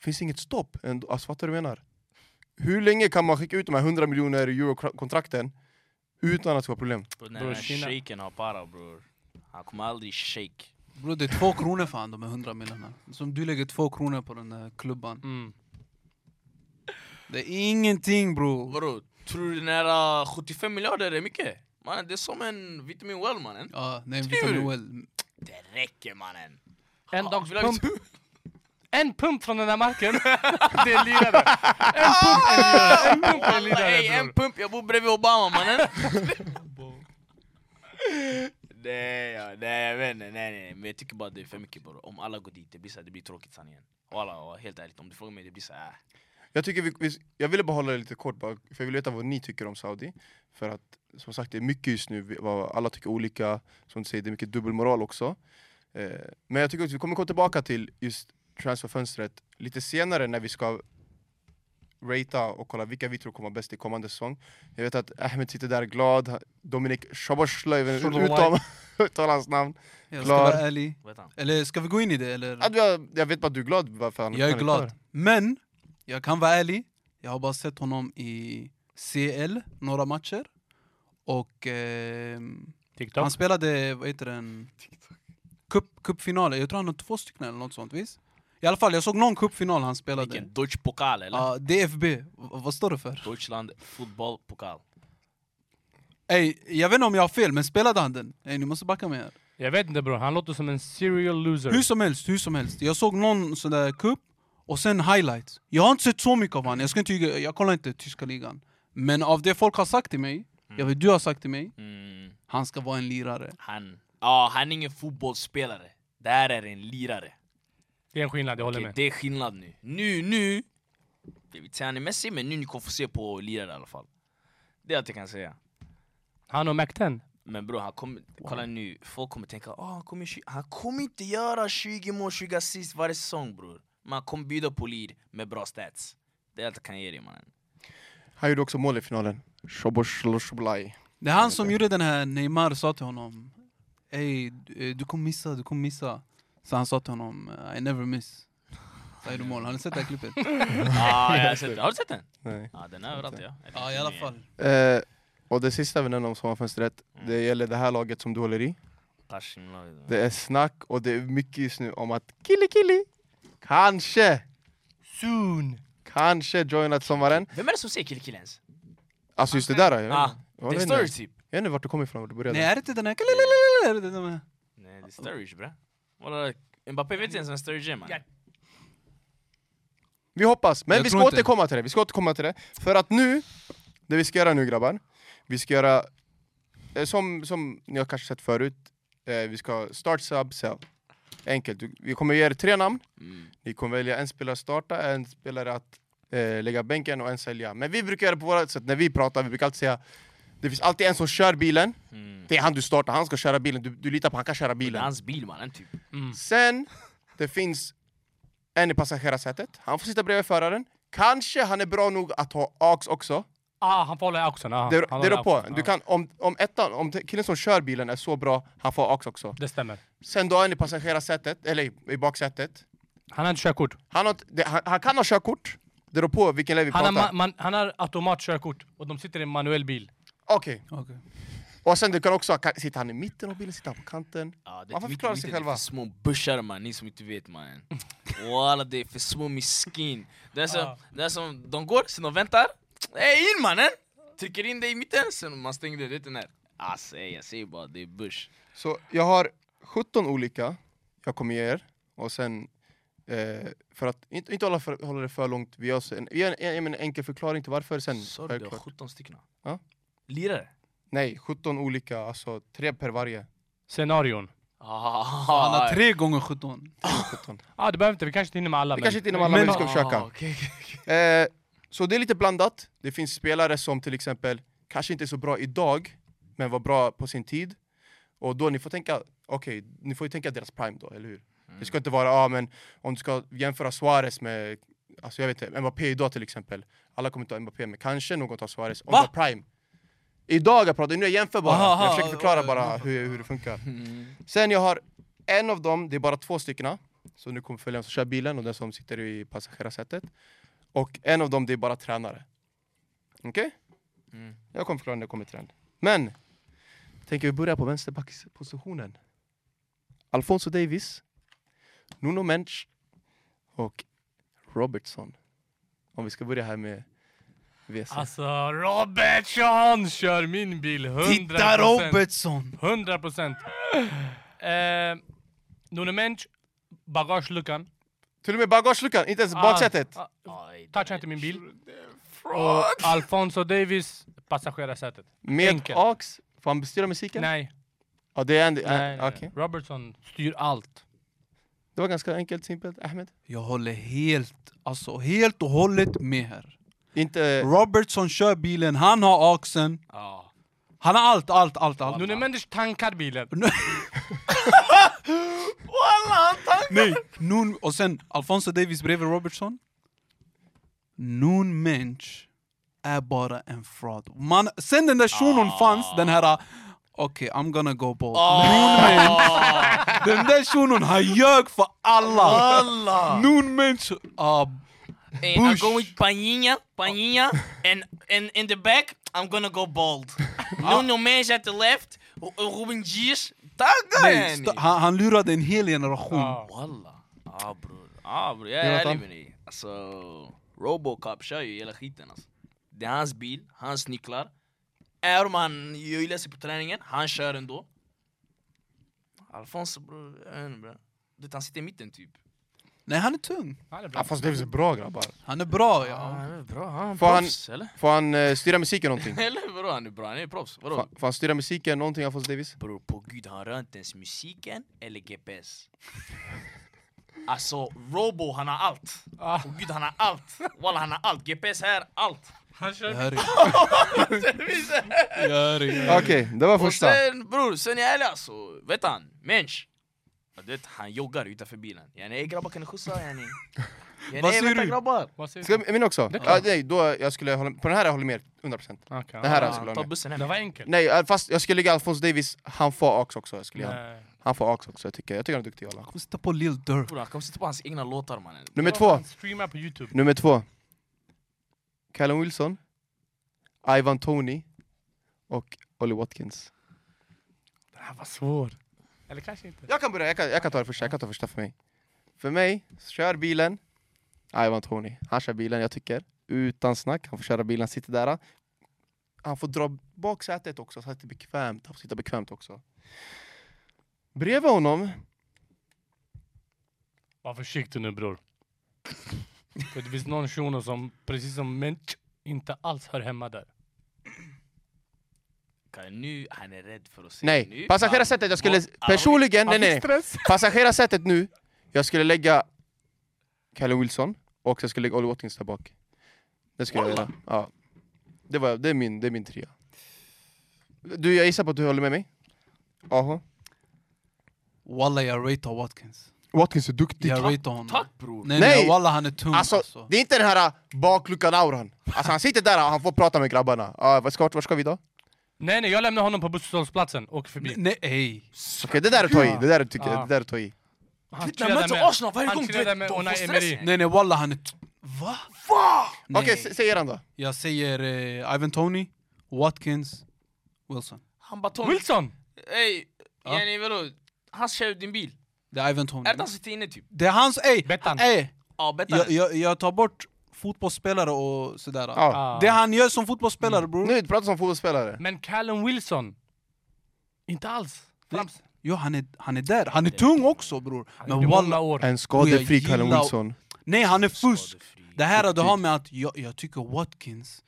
B: finns inget stopp ändå, alltså fattar du vad jag menar? Hur länge kan man skicka ut de här 100 miljoner euro-kontrakten utan att det ska vara problem?
A: Bror, den
E: Bror,
A: här
E: Kina-
A: shaken har para bror. Han kommer aldrig shake.
D: Bro, det är två kronor fan de här hundra miljonerna. Som du lägger två kronor på den här klubban.
E: Mm.
D: Det är ingenting bro.
A: Vadå, tror du den här 75 miljarder är mycket? Mannen det är som en vitamin well mannen.
D: Ja, nej,
A: Skriver du?
D: vitamin well.
A: Det räcker mannen.
E: En
A: Ja,
E: dags
A: vill jag
E: pump.
A: veta-
E: En pump från den där marken, det är lirare. En pump är lirare, en pump
A: Alla,
E: är
A: ey,
E: lirare
A: en
E: bror.
A: pump, jag bor bredvid Obama mannen. nej, ja, nej jag vet inte, nej, nej, nej. men jag tycker bara det är för mycket bara. Om alla går dit, det blir, så här, det blir tråkigt sanningen. Och alla, och helt ärligt, om du frågar mig, det blir så här. äh.
B: Jag, tycker vi, vi, jag ville bara hålla det lite kort, bara, för jag vill veta vad ni tycker om Saudi. För att som sagt, det är mycket just nu, vi- vad alla tycker olika, som du säger, det är mycket dubbelmoral också. Eh, men jag tycker också, vi kommer komma tillbaka till just transferfönstret lite senare när vi ska ratea och kolla vilka vi tror kommer vara bäst i kommande säsong. Jag vet att Ahmed sitter där glad, han- Dominik Shaboslöjven,
E: Szoboszlai.
B: utom, uttala hans namn.
D: Jag ska
B: Klar.
D: vara ärlig.
A: Vad heter han?
D: Eller ska vi gå in i det eller?
B: Att jag, jag vet bara att du är glad varför han
D: Jag är
B: han kvar.
D: glad. Men, jag kan vara ärlig. Jag har bara sett honom i CL, några matcher. Och ehm, han
E: TikTok.
D: spelade, vad heter den? Cup, cupfinalen. Jag tror han har två stycken eller något sånt visst? I alla fall, jag såg någon cupfinal han spelade.
A: Vilken? Deutsch Pokal eller?
D: Ja, DFB. V- vad står det för?
A: Deutschland Football Pokal.
D: Ey, jag vet inte om jag har fel, men spelade han den? Ey, ni måste backa mig här.
E: Jag vet inte bror, han låter som en serial loser.
D: Hur som helst, hur som helst. Jag såg någon sån där cup och sen highlights. Jag har inte sett så mycket av han. Jag ska inte ljuga, jag kollar inte tyska ligan. Men av det folk har sagt till mig, jag vet du har sagt till mig,
A: Mm,
D: han ska vara en lirare.
A: han, ja han är ingen fotbollsspelare. Det här är en lirare.
E: Det är en skillnad, jag håller
A: Okej,
E: med.
A: det är skillnad nu. Nu, nu! Det vill säga han är Messi, men nu ni kommer få se på lirare i alla fall. Det är allt jag kan säga.
E: Han och McTen.
A: Men bror, han kommer, kolla nu, folk kommer tänka "Ah, han, kommer, tju- han kommer inte göra 20 mål, 20 assist varje säsong bror. Men han kommer bjuda på lir med bra stats. Det är allt jag kan ge dig mannen.
B: Han gjorde också mål i finalen. Shaboslöjven.
D: Det är han som gjorde den här Neymar sa till honom. Ey, du eh, du kommer missa, du kommer missa. Så han sa till honom, eh, I never miss. Said mål. Har ni sett det här klippet?
A: Ah, jag har, sett, har du sett den?
B: Nej.
A: Ja, den är överallt ja. Eller
D: ja, i alla fall.
B: Eh, och det sista vi nämner om sommarfönstret, det gäller det här laget som du håller i.
A: Tashimla-
B: Det är snack och det är mycket just nu om att Kili Kili kanske,
E: Soon!
B: kanske joinat sommaren.
A: Vem är det som säger killkille ens?
B: Alltså just det där, jag vet,
A: Ah,
B: inte. jag
A: det är
B: vet, inte.
A: Sturridge typ.
B: Jag vet inte vart du kommer ifrån, var du började.
D: Nej, är det inte den här? Kalalalalala? Är det den här?
A: Nej, det är Sturridge bre. Walla, Mbappé vet inte ens vem Sturridge är man.
E: Ja.
B: Vi hoppas, men
D: Jag
B: vi
D: tror
B: ska
D: inte.
B: återkomma till det. Vi ska återkomma till det. För att nu, det vi ska göra nu grabbar, vi ska göra, eh, som, som ni har kanske sett förut, eh, vi ska start, sub, sell. Enkelt. Du- Vi kommer ge er tre namn.
A: Mm.
B: Ni kommer välja en spelare att starta, en spelare att eh, lägga bänken och en sälja. Men vi brukar göra på vårt sätt när vi pratar, vi brukar alltid säga det finns alltid en som kör bilen,
A: Mm.
B: det är han du startar, han ska köra bilen, du, du litar på han kan köra
A: Det är
B: bilen.
A: hans bil mannen typ.
B: Sen, det finns en i passagerarsätet, han får sitta bredvid föraren. Kanske han är bra nog att ha AX också.
E: Ah, han får hålla i axeln. Ah,
B: Det,
E: han
B: det
E: håller i
B: rör på.
E: axeln,
B: Du
E: ah.
B: kan, om, om, ettan, om te- killen som kör bilen är så bra, han får AX också.
E: Det stämmer.
B: Sen då är en i passagerarsätet, eller i- i baksätet.
E: Han har inte körkort.
B: Han, har, inte- det, han, han kan ha körkort, det beror på vilken läge vi
E: Han har,
B: pratar.
E: ma- man, han har automatkörkort och de sitter i en manuell bil.
B: Okej,
D: Okej.
B: och sen du kan också, kan, sitter han i mitten av bilen, sitter han på kanten?
A: Ja, det
B: Man
A: är
B: får
A: mitt-
B: förklara sig
A: mitt-
B: själva.
A: Det är för små börsar man, ni som inte vet man. Walla det är för små miskin. Det är, som,
E: Ja.
A: det är som, de går, sen de väntar, hey, in mannen! Trycker in dig i mitten, sen man stänger det, vet du när? Alltså ey, jag säger bara, det är börs.
B: Så jag har 17 olika jag kommer ge er, och sen eh, för att inte, inte hålla, för, hålla det för långt, vi gör så en, vi gör en, en, en enkel förklaring till varför sen.
A: Sa du det var
B: självklart.
A: 17 stycken?
B: Ja.
A: Lirare?
B: Nej, 17 olika, alltså tre per varje.
E: Scenarion.
D: Han har tre gånger 17.
B: 17.
E: Ah, det behöver inte, vi kanske inte hinner med alla.
B: Vi
E: men-
B: kanske inte hinner med alla, men vi
A: Ah,
B: ska försöka. Eh, så det är lite blandat. Det finns spelare som till exempel kanske inte är så bra idag, men var bra på sin tid. Och då ni får tänka, okej, ni får ju tänka deras prime då, eller hur?
D: Mm.
B: Det ska inte vara, ja men om du ska jämföra Suarez med, alltså jag vet inte, Mbappé idag till exempel. Alla kommer inte ha Mbappé, men kanske någon tar Suarez. Om
A: Va?
B: det var prime. Idag jag pratar, nu jag jämför bara.
D: Aha,
B: jag försöker förklara
D: oj,
B: bara hur, hur det funkar. Sen jag har en av dem, det är bara två stycken. Så nu kommer följaren som kör bilen och den som sitter i passagerarsätet. Och en av dem, det är bara tränare. Okej?
A: Mm.
B: Jag kommer förklara när jag kommer till den. Men, tänker vi börja på vänsterbackspositionen. Alfonso Davis, Nuno Mensch och Robertson. Om vi ska börja här med WC.
E: Alltså Robertson kör min bil 100%.
D: Titta Robertson!
E: 100 procent. Eh, Nuno Mensch, bagageluckan.
B: Till och med bagageluckan, inte ens baksätet!
E: Ah, ah,
A: Aj,
E: touchar inte min bil. Och Alfonso Davis, passagerarsätet.
B: Med
E: enkelt.
B: AX, får han bestyra musiken?
E: Nej,
B: Ja, det är Andy.
E: nej,
B: ah,
E: nej.
B: okej.
E: Robertson styr allt.
B: Det var ganska enkelt, simpelt. Ahmed?
D: Jag håller helt, alltså helt och hållet med här.
B: Inte... eh,
D: Robertson kör bilen, han har axeln.
A: Ja.
D: Han har allt, allt, allt, allt.
E: Nuno Mendes tankar bilen.
D: Nej! Nun, och sen Alfonso Davis bredvid Robertson. Nun Mensch är bara en fraud. Man, sen den där shunon fanns, den här... ah, Okej, I'm gonna go bold. Nun Mensch. Den där shunon, han ljög för alla! alla. Nun Mensch... ah,
A: Hey, Eh, I'm going with Paninha, Paninha, and, and in the back, I'm gonna go bald. Nuno Mendes at the left, Ru- uh, Ruben Dias. Tagga
D: nej, st- han, han lurade en hel generation.
E: Ah.
A: Walla. Ja ah, bror. Ah, bror. Jag är
B: Jonathan?
A: ärlig med dig. Alltså, Robocop kör ju hela skiten alltså. Det är hans bil, hans nycklar. Även om han gillar sig på träningen, han kör ändå. Alfonso bror, jag vet inte bror. Du vet, Han sitter i mitten typ.
D: Nej, han är tung.
E: Han är bra.
B: Alfonso Davis är bra grabbar.
D: Han är bra,
A: Ja,
D: ja.
A: han är bra. Han är
B: Får han-
A: proffs, eller?
B: Får han eh, styra musiken någonting?
A: Eller vadå, han är bra. Han är proffs. Vadå?
B: Får, får han styra musiken någonting, Alfonso Davis?
A: Bror, på gud, han rör inte ens musiken eller GPS. Alltså, Robo, han har allt.
E: Ah.
A: På gud, han har allt. Walla, han har allt. GPS här, allt.
E: Han
D: Jag
E: kör
D: hör er. Jag hör er.
B: Okej, det var
A: Och
B: första.
A: sen, bror, sen jag är ärlig alltså. Vet han, mensch. Ja, Du vet, han joggar utanför bilen. Yani, ey grabbar kan ni skjutsa yani? Yani,
D: Vad
A: ey,
D: säger
A: vänta,
D: du?
A: grabbar.
E: Vad säger
B: Ska
E: du?
B: jag- min också?
E: Det är
B: Ja,
E: klart.
B: nej, då jag skulle hålla, på den här jag håller med, 100%.
E: Okej,
B: Det här
E: ah.
B: alltså.
A: ta bussen hem.
E: Det var enkelt.
B: Nej, eh, fast jag skulle lägga Alfonso Davis, han får också också. Jag skulle ge honom.
E: Nej.
B: Han får ax också, jag tycker, jag tycker han är duktig alla.
D: Kommer sitta på Lil Durk.
A: Bror han kommer sitta på hans egna låtar mannen.
B: Nummer
E: Kolla
B: två,
E: fan, Streama på youtube.
B: nummer två. Callum Wilson, Ivan Tony och Ollie Watkins.
E: Den här var svår. Eller kanske inte.
B: Jag kan börja, jag kan, jag kan ta det första, jag kan ta första för mig. För mig, kör bilen. Ivan Tony, han kör bilen jag tycker. Utan snack, han får köra bilen, han sitter där. Han får dra bak sätet också så att det är bekvämt. Han får sitta bekvämt också. Bredvid honom,
E: Var försiktig nu bror. För det finns någon shuno som, precis som Mench, inte alls hör hemma där.
A: Okej, Nu, han är rädd för att se.
B: nej,
A: Nu,
B: passagerarsätet jag skulle...
A: Vad arg-
B: Personligen, nej
E: Han
B: nej.
E: fick
B: nej.
E: stress.
B: Passagerarsätet nu, jag skulle lägga Callum Wilson och jag skulle lägga Ollie Watkins där bak. Det skulle jag
A: Walla.
B: göra. Ja. Det, var, det, är min, det är min trea. Du, jag gissar på att du håller med mig? Aha.
D: Walla jag ratear Watkins.
B: Watkins är duktig.
D: Jag ratear honom.
A: Tack bror.
D: Nej,
B: Nej!
D: nej walla han är tung
B: Alltså,
D: alltså.
B: det är inte den här bakluckan-auran. Alltså han sitter där och han får prata med grabbarna. Ah, vart, ska, vart ska vi då? Okej,
E: Nej nej, jag lämnar honom på busshållplatsen. Åker förbi.
D: Nej, ej.
B: det där är att ta i. Det där, är tycker,
E: Ja.
B: det där är att ta i.
E: Han
A: När
E: chillar
A: möter
E: med-
A: Arsenal varje
E: han
A: gång du
E: chillar
A: vet,
E: med
A: de får
E: Unai
A: stress.
E: Emery.
D: Nej nej walla han är... T- Va? Va?
B: Okej, okay, säg eran då.
D: Jag säger eh, Ivan Tony, Watkins, Wilson.
A: Han bara Tom,
E: Wilson!
A: ey,
D: Ja. Mm.
A: Jenny vadå? Han kör ut din bil.
D: Det är Ivan Tony.
A: Är det han som sitter inne typ?
D: Det är hans... Ey!
E: Bettan.
D: ey.
A: Ja, betta.
D: Jag, jag, jag tar bort fotbollsspelare och sådär.
B: Ja.
E: Ah.
D: Det han gör som fotbollsspelare bror.
B: Nu, prata som fotbollsspelare.
E: Men Callum Wilson, inte alls. Frams.
D: Jo han är, han är där, han är tung också bror.
E: Det
D: Men
E: är många
D: walla...
B: En
E: år.
D: Och jag
B: skadefri
D: gillar-
B: Callum Wilson.
D: Nej han är fusk!
A: Skadefri. Typ.
D: Det här du har med att jag, jag tycker Watkins,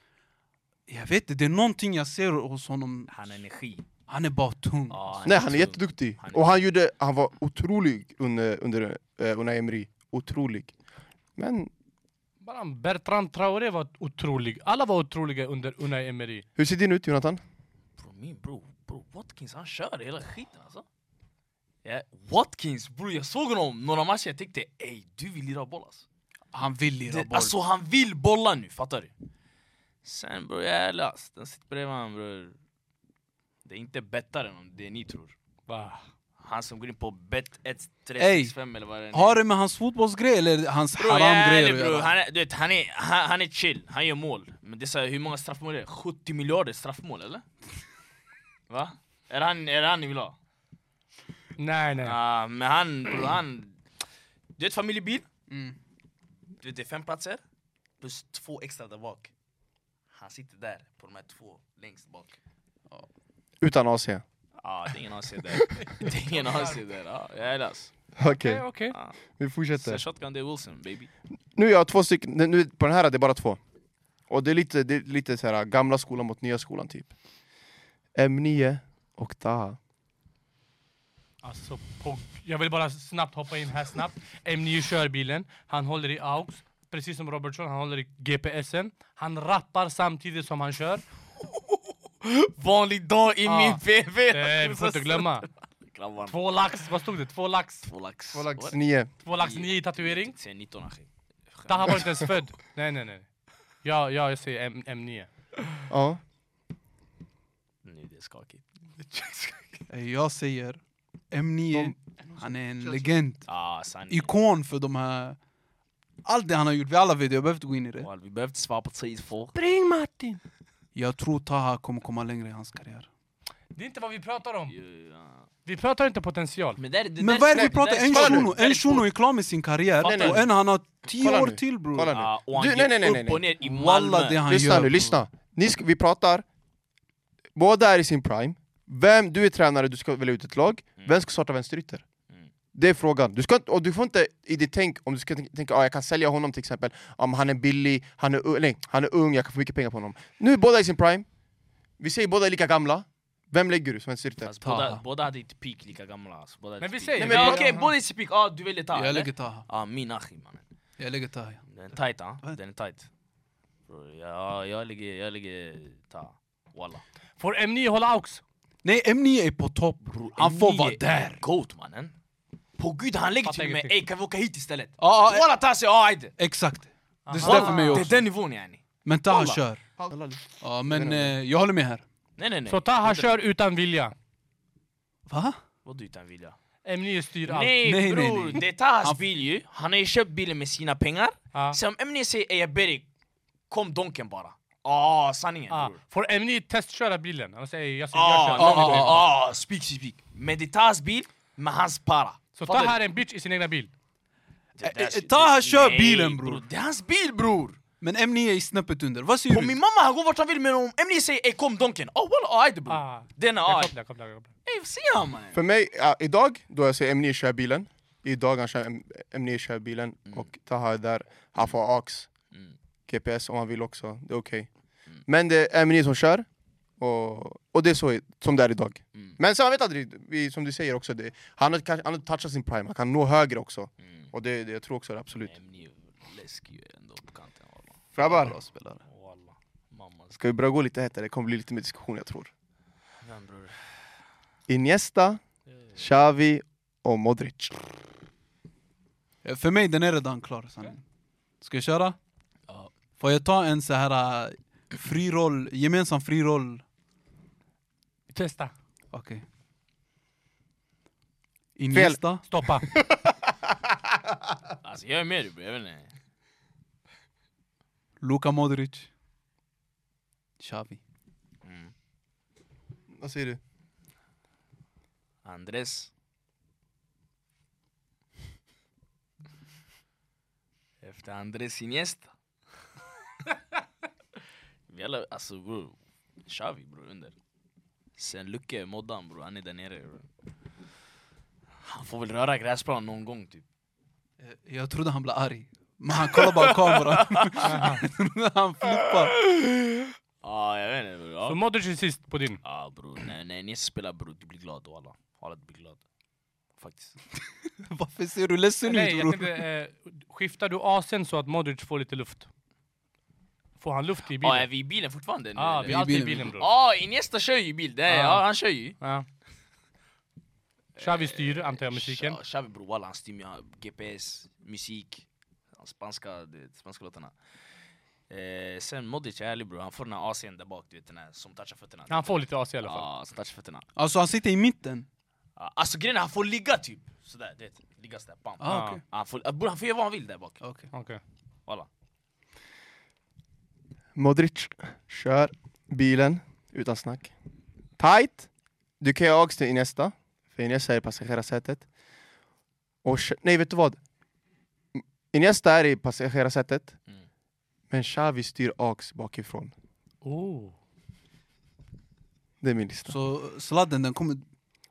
D: jag vet inte, det är någonting jag ser hos honom,
A: Han har energi.
D: han är bara tung.
A: Ja,
B: Nej, han är
A: tung.
B: jätteduktig.
A: Alltså, Han är-
B: Och han, gjorde, han var otrolig under, under eh, Unai Emery. Otrolig. Men
E: Bara Bertrand Traoré var otrolig. Alla var otroliga under Unai Emery.
B: hur ser din ut Jonathan?
A: Bro, min bro, bro, Watkins han kör hela skiten alltså. Ja, Watkins bro, jag såg honom några matcher, jag tänkte ey du vill lira boll alltså.
D: Han vill lira
A: Det,
D: boll.
A: alltså han vill bolla nu, fattar du? Sen bror, jag är last. Den sitter bredvid honom bror. Det är inte bettare än det ni tror.
E: Va?
A: Han som går in på bet 1, 3,
D: Ey,
A: 6, 5 eller vad det är.
D: Har det med hans fotbollsgrej eller hans
A: Bro, jag är
D: haramgrej
A: ärlig,
D: att
A: bro.
D: göra?
A: Han, är, du vet, han, är, han, han är chill, han gör mål. Men det är så här, hur många straffmål är det? 70 miljarder straffmål eller? Va? Är det han, är det han ni vill ha?
E: Nej nej.
A: Ja, men han, bror, han... Du vet familjebil?
D: Mm.
A: Du vet, det är fem platser, plus två extra där bak. Han sitter där, på de här två längst bak.
B: Utan AC. Okej.
A: Ja, det är ingen AC där. det är ingen AC där. Ja, jag är lass.
E: Okej okej.
A: Ja.
B: Vi
A: Så
B: fortsätter.
A: shotgun, det är Wilson baby.
B: Nu jag har två stycken, nu- nu, på den här är det bara två. Och det är lite, det är lite så här, äh, gamla skolan mot nya skolan typ. M9 och Taha.
E: Alltså, på, jag vill bara snabbt hoppa in här snabbt. M9 kör bilen, han håller i AUX, precis som Robertson, han håller i GPSen. Han rappar samtidigt som han kör.
A: Vanlig dag i
E: Ja.
A: min PV!
E: Eh, vi får inte glömma.
A: Grabbarna.
E: Två lax, vad stod det? Två lax?
A: Två lax.
B: Två lax. Nio.
E: Två lax, nio i tatuering.
A: Säg 19 achi.
E: Taha var inte ens född. Nej nej nej. Ja, ja jag säger M, M9.
B: Ja.
A: Nu det är skakigt.
D: Eh, Jag säger M9, han är en legend.
A: Ah, sanning.
D: Ikon för de här... Allt det han har gjort, vi alla vet det, jag behöver inte gå in i det.
A: Well, vi behöver inte svara på tidsfrågor.
E: Spring Martin!
D: Jag tror Taha kommer komma längre i hans karriär.
E: Det är inte vad vi pratar om.
A: Ja.
E: Vi pratar inte potential.
A: Men, där, det
D: Men
A: där-
D: vad är det vi
A: där-
D: pratar?
A: där är
D: En
A: svårt.
B: nu.
D: shuno,
A: Där är
D: en
A: svårt.
D: shuno är klar med sin karriär
A: Fattar
B: du?
D: och en han har tio
B: Kolla
D: år
B: nu.
D: till bror.
B: Kolla nu.
A: Ja, och han
B: Du,
A: gick
B: nej, nej, nej,
A: upp
B: nej,
A: och
B: nej.
A: ner i
D: Walla
A: Malmö.
D: det han
B: Lyssna
D: gör.
B: nu,
D: bror.
B: lyssna. Ni ska, vi pratar, båda är i sin prime. Vem, du är tränare, du ska välja ut ett lag. Vem ska starta vänsterytter?
A: Mm.
B: Det är frågan. Du, ska, inte- och du får inte i ditt tänk, om du ska tänka att ah, jag kan sälja honom till exempel, om han är billig, han är, u- nej, han är ung, jag kan få mycket pengar på honom. Nu är båda i sin prime, vi säger båda är lika gamla, vem lägger du som vänsterytter?
A: Alltså, båda,
D: Taha.
A: båda hade inte peak lika gamla alltså. båda hade inte
E: Men vi
A: peak.
E: säger-
A: Nej,
B: Nej,
A: men
B: men-
A: Okej, båda i sin peak, ah, du väljer Taha
D: Jag
A: eller?
D: lägger Taha.
A: Ja, min achi mannen.
D: Jag lägger Taha. ja.
A: Den är tight ah,
D: Va?
A: den är tight. Bro, ja, jag lägger, jag lägger Taha. Walla.
E: Får M9 hålla AUX?
D: Nej, M9 är på topp bror. Han får
A: Ni
D: vara
A: är
D: där.
A: Goat mannen. På gud, han lägger
E: Fattar
A: till och med
E: ingenting.
A: ey kan vi åka hit istället?
D: Ja, ja,
A: Walla Taha säger ja, ajde.
D: exakt. Det är
E: Aha.
D: sådär för mig
A: Det är
D: också.
A: den nivån yani.
D: Men Taha
A: Kolla.
D: kör.
B: Alla-
D: Ja, men eh, jag håller med här.
A: Nej nej nej.
E: Så Taha kör utan vilja.
D: Va?
A: Vadå utan vilja?
E: Emni styr allt.
A: Nej,
D: Nej, nej,
A: bror,
D: nej.
A: det är Tahas bil ju. Han har ju köpt bilen med sina pengar.
E: Ah.
A: Sen om Emni säger ey Berik, kom donken bara. Ah, sanningen
E: Ah,
A: bror.
E: får Emni testköra bilen? Han säger jag, ska- jag
A: Ah,
E: kör.
A: ah, ah, ah, speak, speak. Men det är Tahas bil med hans para.
E: Så
A: Fattar
E: ta
A: du?
E: här en bitch i sin egna bil.
A: Mm. Det där
D: Eh, eh,
A: shit,
D: Taha
A: det-
D: kör
A: nej,
D: bilen, bror.
A: Det är hans bil bror!
D: Men M9 är snäppet under. Vad säger
A: På
D: du?
A: min mamma, han går vart han vill men om Emni säger ey kom donken, ah walla, ah ajde bror.
E: Ah.
A: Den är
E: Jag
A: ah,
E: kopplar, jag kopplar, jag kopplar.
A: ey ser han mannen?
B: För mig, ja, idag då jag ser M9 köra bilen, idag han kör M- M9 kör bilen och Taha är där, han får AX,
A: Mm.
B: GPS om han vill också, det är okej. Men det är M9 som kör, och, och det är så i- som det är idag.
A: Mm.
B: Men sen man vet aldrig, vi, som du säger också, det, han har kanske- han har touchat sin prime, han kan nå högre också.
A: Mm.
B: Och det, det jag tror också det, absolut.
A: Emni är läskig ju ändå på kanten walla.
B: Grabbar,
A: Walla, mammas
B: ska vi börja gå lite hetare? Det kommer bli lite mer diskussion jag tror.
A: vän bror.
B: Iniesta,
A: Mm.
B: Xavi och Modric.
D: Eh, För mig den är redan klar. sanningen. Ska jag köra?
A: Ja.
D: Får jag ta en så här eh, fri roll, gemensam fri roll?
E: Testa.
D: Okej. Iniesta?
E: Stoppa.
A: Alltså jag är med dig bror, jag vet inte.
D: Luka Modric? Xavi?
A: Mm.
B: Vad säger du?
A: Andres. Efter Andres Iniesta. Vi alla, alltså bror. Xavi bror under. Sen Lucke, Moddan bror, han är där nere. Bro. Han får väl röra gräsplan någon gång typ.
D: Eh, Jag trodde han blev arg. Men han kollar bara kameran. han flippar.
A: Ja, jag vet inte bror.
E: Så
A: Ja
E: Modric är sist på din.
A: ah, bror, när, när ni spelar bror, du blir glad walla. Walla du blir glad. Faktiskt.
D: Varför ser du ledsen
E: Nej,
D: ut
E: jag
D: bror?
E: tänkte, eh, skiftar du AC'n så att Modric får lite luft? Får han luft i bilen?
A: Ah, är vi i bilen fortfarande? nu,
E: ah,
A: eller?
E: vi är alltid i
D: bilen,
E: bilen bror.
A: Ja, Ah, Iniesta kör ju bil, det är,
E: Ah.
A: ja, han kör ju.
E: Ja. Xavi styr, antar jag, musiken.
A: Xa- Xavi bror, walla han styr med han- GPS, musik, han spanska, det, spanska låtarna. Eh, sen Modric, jag är ärlig bror, han får den här AC'n där bak, du vet den här som touchar fötterna.
E: Han får lite AC i alla fall.
A: Ja, som touchar fötterna.
D: Alltså han sitter i mitten.
A: Ja, alltså grejen är, han får ligga typ, sådär, du vet. Ligga sådär, bam.
D: Ah,
E: Ja.
D: okej.
A: Han, får, bror, han får göra vad han vill där
E: Ah.
A: bak.
D: Okej.
E: Okej.
A: Walla.
B: Modric kör bilen utan snack. Tight. Du kan ju också till Iniesta. För Iniesta är i passagerarsätet. Och, Ch- nej, vet du vad? Iniesta är i passagerarsätet.
A: Mm.
B: Men Xavi styr AX bakifrån.
E: Oh.
B: Det är min lista.
D: Så sladden den kommer...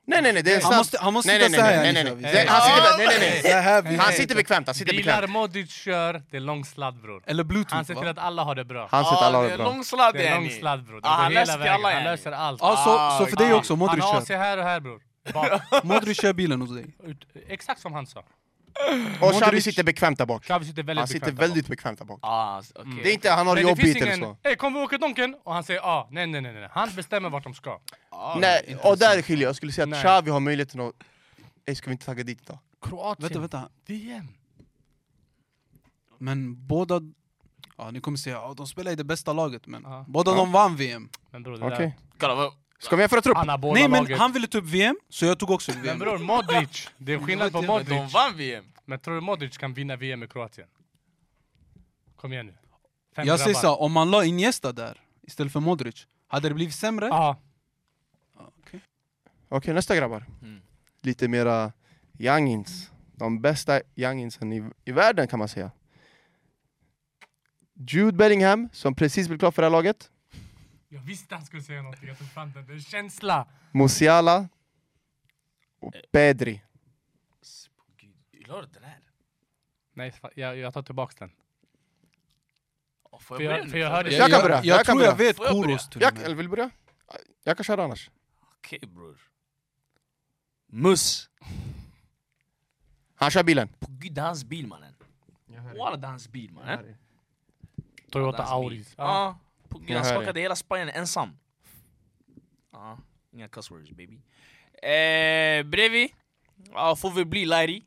B: Nej, nej, nej. Det är en
D: Han
B: snabb-
D: måste, han måste
B: nej, nej,
D: sitta så här.
B: nej, nej, nej,
D: Xavi.
B: nej. Det- Han sitter, nej, nej,
D: Så
B: nej.
D: här vi-
B: Han sitter bekvämt. Han sitter
E: Bilar
B: bekvämt.
E: Modric kör, det är lång sladd bror.
D: Eller bluetooth
E: Han ser till
D: Eh, typ, va?
E: att alla har det bra.
B: Han sitter alla
A: Ah,
B: har
A: det
B: det
A: är
B: bra.
A: lång sladd
E: Det är
A: yani.
E: lång sladd bror. Det
A: Ah,
E: går
A: han
E: hela
A: löser
E: vägen.
A: alla,
E: han
A: yani.
E: löser allt.
D: Ja, så, så för dig
A: Ah,
D: också, Modric
E: han har AC
D: kör.
E: här och här bror. Bak.
D: Modric kör bilen hos dig.
E: Ut- Exakt som han sa.
B: Och Xavi
D: Modric-
B: sitter bekvämt där bak.
E: Xavi sitter väldigt
B: Han sitter
E: bekvämt där bak.
B: väldigt bekvämt där bak.
A: Ah, okej.
B: Det är inte han har
E: Men Mm. det finns
B: jobbigt eller så.
E: ingen, ey kom vi åker Donken? Och han säger ah, nej nej nej nej. Han bestämmer vart de ska.
B: Nej, och där skiljer jag. Jag skulle säga att
E: Nej.
B: Xavi har möjligheten att... Ey, ska vi inte tagga dit idag?
E: Kroatien.
D: Vänta, vänta.
E: VM.
D: Men båda... Ja, ni kommer säga att de spelar i det bästa laget, men
E: Ja.
D: båda
B: Ja.
D: de vann VM.
E: Men bror det
B: Okej.
E: där.
A: Kolla, vad-
B: Ska vi jämföra trupp?
E: Anabola
D: Nej, men
E: laget.
D: han ville ta upp VM, så jag tog också VM.
E: Men bror Modric. Det är skillnad på
D: Men de
A: men de
E: Modric.
A: vann VM.
E: Men tror du Modric kan vinna VM med Kroatien? Kom igen nu. Fem
D: Jag säger
E: grabbar.
D: så, här, om man la Iniesta där istället för Modric, hade det blivit sämre?
E: Ja.
B: Okej, nästa grabbar.
A: Mm.
B: Lite mera youngins. De bästa younginsen i, i världen kan man säga. Jude Bellingham, som precis blev klar för det här laget.
E: Jag visste han skulle säga någonting. Jag tog fram den. Det är en känsla.
B: Musiala. Och Pedri.
A: Alltså, Gud, la du den här?
E: Nej, fa- jag, jag tar tillbaka den.
A: Ja, Får
E: För jag-
A: börja nu?
E: för jag
A: Får
E: hörde-
A: börja?
B: Jag kan börja,
D: Jag,
B: jag kan
D: tror jag
B: börja.
D: vet
A: Får jag börja?
D: Koros till och
B: Jag,
D: med.
B: eller vill du börja? Jag kan köra annars.
A: Okej bror. Muss.
B: Han kör bilen.
A: På gud, det är hans bil mannen. Walla det är hans bil mannen. Det är
E: Toyota
A: hans bil.
E: Auris. Ja.
A: Ja. På gud,
B: Jag
A: han
B: hör dig.
A: skakade hela Spanien ensam. Ja, inga cuss words baby. Eh, bredvid, ja, får vi bli Larry.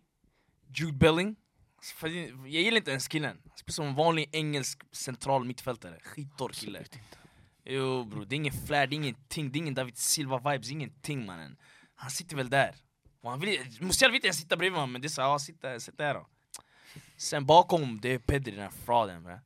A: Jude Belling. Alltså, För Jag gillar inte ens killen. Han spelar som en vanlig engelsk central mittfältare. Skittorr kille. Jo bror, det är ingen flärd, det är ingenting. Det är ingen David Silva-vibes, ingenting mannen. Han sitter väl där. Och han vill, Musiala vill inte ens sitta bredvid honom, men det är såhär, ja, sitt där, sitt där då. Sen bakom, det är Pedri, den här fraden. va?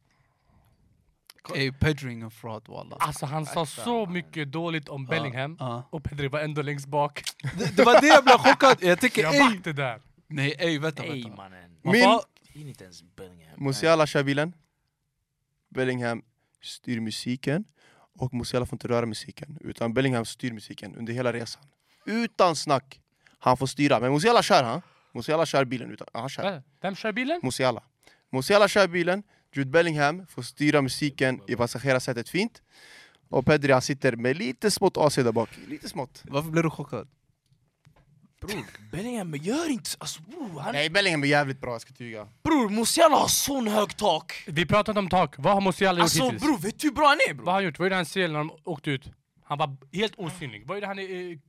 D: Ey, Pedring en fraud walla.
E: Alltså han sa så mycket dåligt om Bellingham,
D: ja.
E: och Pedri var ändå längst bak.
D: Det, det var det jag blev chockad. Jag tänker
E: Jag
D: ey!
E: back det där.
D: Nej ey vänta
A: Nej
D: vänta.
A: mannen.
D: Man
B: Min-
D: får-
A: Hinner inte ens Bellingham.
B: Musiala kör bilen. Bellingham styr musiken. Och Musiala får inte röra musiken. Utan Bellingham styr musiken under hela resan. Utan snack. Han får styra. Men Musiala kör han. Musiala kör bilen. Utan, han kör.
E: Va? Vem kör bilen?
B: Musiala. Musiala kör bilen, Jude Bellingham får styra musiken i passagerarsätet fint. Och Pedri han sitter med lite smått AC där bak. Lite smått.
D: Varför blev du chockad?
A: Bror, Bellingham gör inte så. Alltså, bror, han,
B: Nej, Bellingham är jävligt bra, jag ska tyga.
A: bror, Musiala har sån hög tak.
E: Vi pratar inte om tak. Vad har Musiala gjort
A: Alltså
E: hittills?
A: bror, vet du hur bra han är
E: Vad har
A: bror?
E: han gjort? Vad gjorde han sel när de åkte ut? Han var b- helt osynlig. Vad gjorde han i... eh,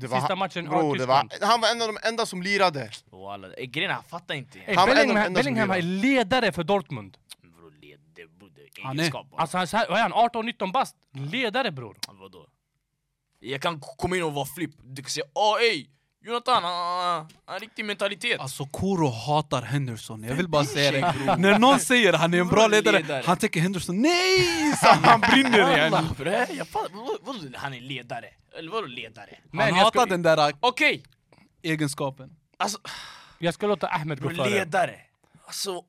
B: Det
E: Sista matchen,
B: bro,
E: ja,
B: det var,
E: Tyskland.
B: Han var en av de enda som lirade.
A: Walla, eh, grejen är, han fattar inte.
E: Hey,
B: Han var en av de enda
E: Bellingham,
B: som
E: Bellingham är
B: lirade.
E: ledare för Dortmund.
A: Bror, led, det, bror, det är
D: Han är-
A: egenskap bara.
E: Alltså han, så här- vad är han? 18-19 bast? Ledare bror.
A: Vadå? Jag kan k- komma in och vara flipp. Du kan säga åh ey, Jonathan, han- han han har riktig mentalitet.
D: Alltså Koro hatar Henderson, jag vill bara säga det När någon säger han är en bra ledare,
A: Ledare.
D: han tänker Henderson Nej! Så han brinner igen
A: Walla, bre, jag fattar. Vad- vadå, Han är ledare. Eller vadå ledare?
D: Han
E: Men jag
D: hatar
E: ska,
D: den där
A: Okej,
D: egenskapen
A: alltså
E: jag ska låta Ahmed gå
A: bror,
E: före.
A: ledare. Alltså och?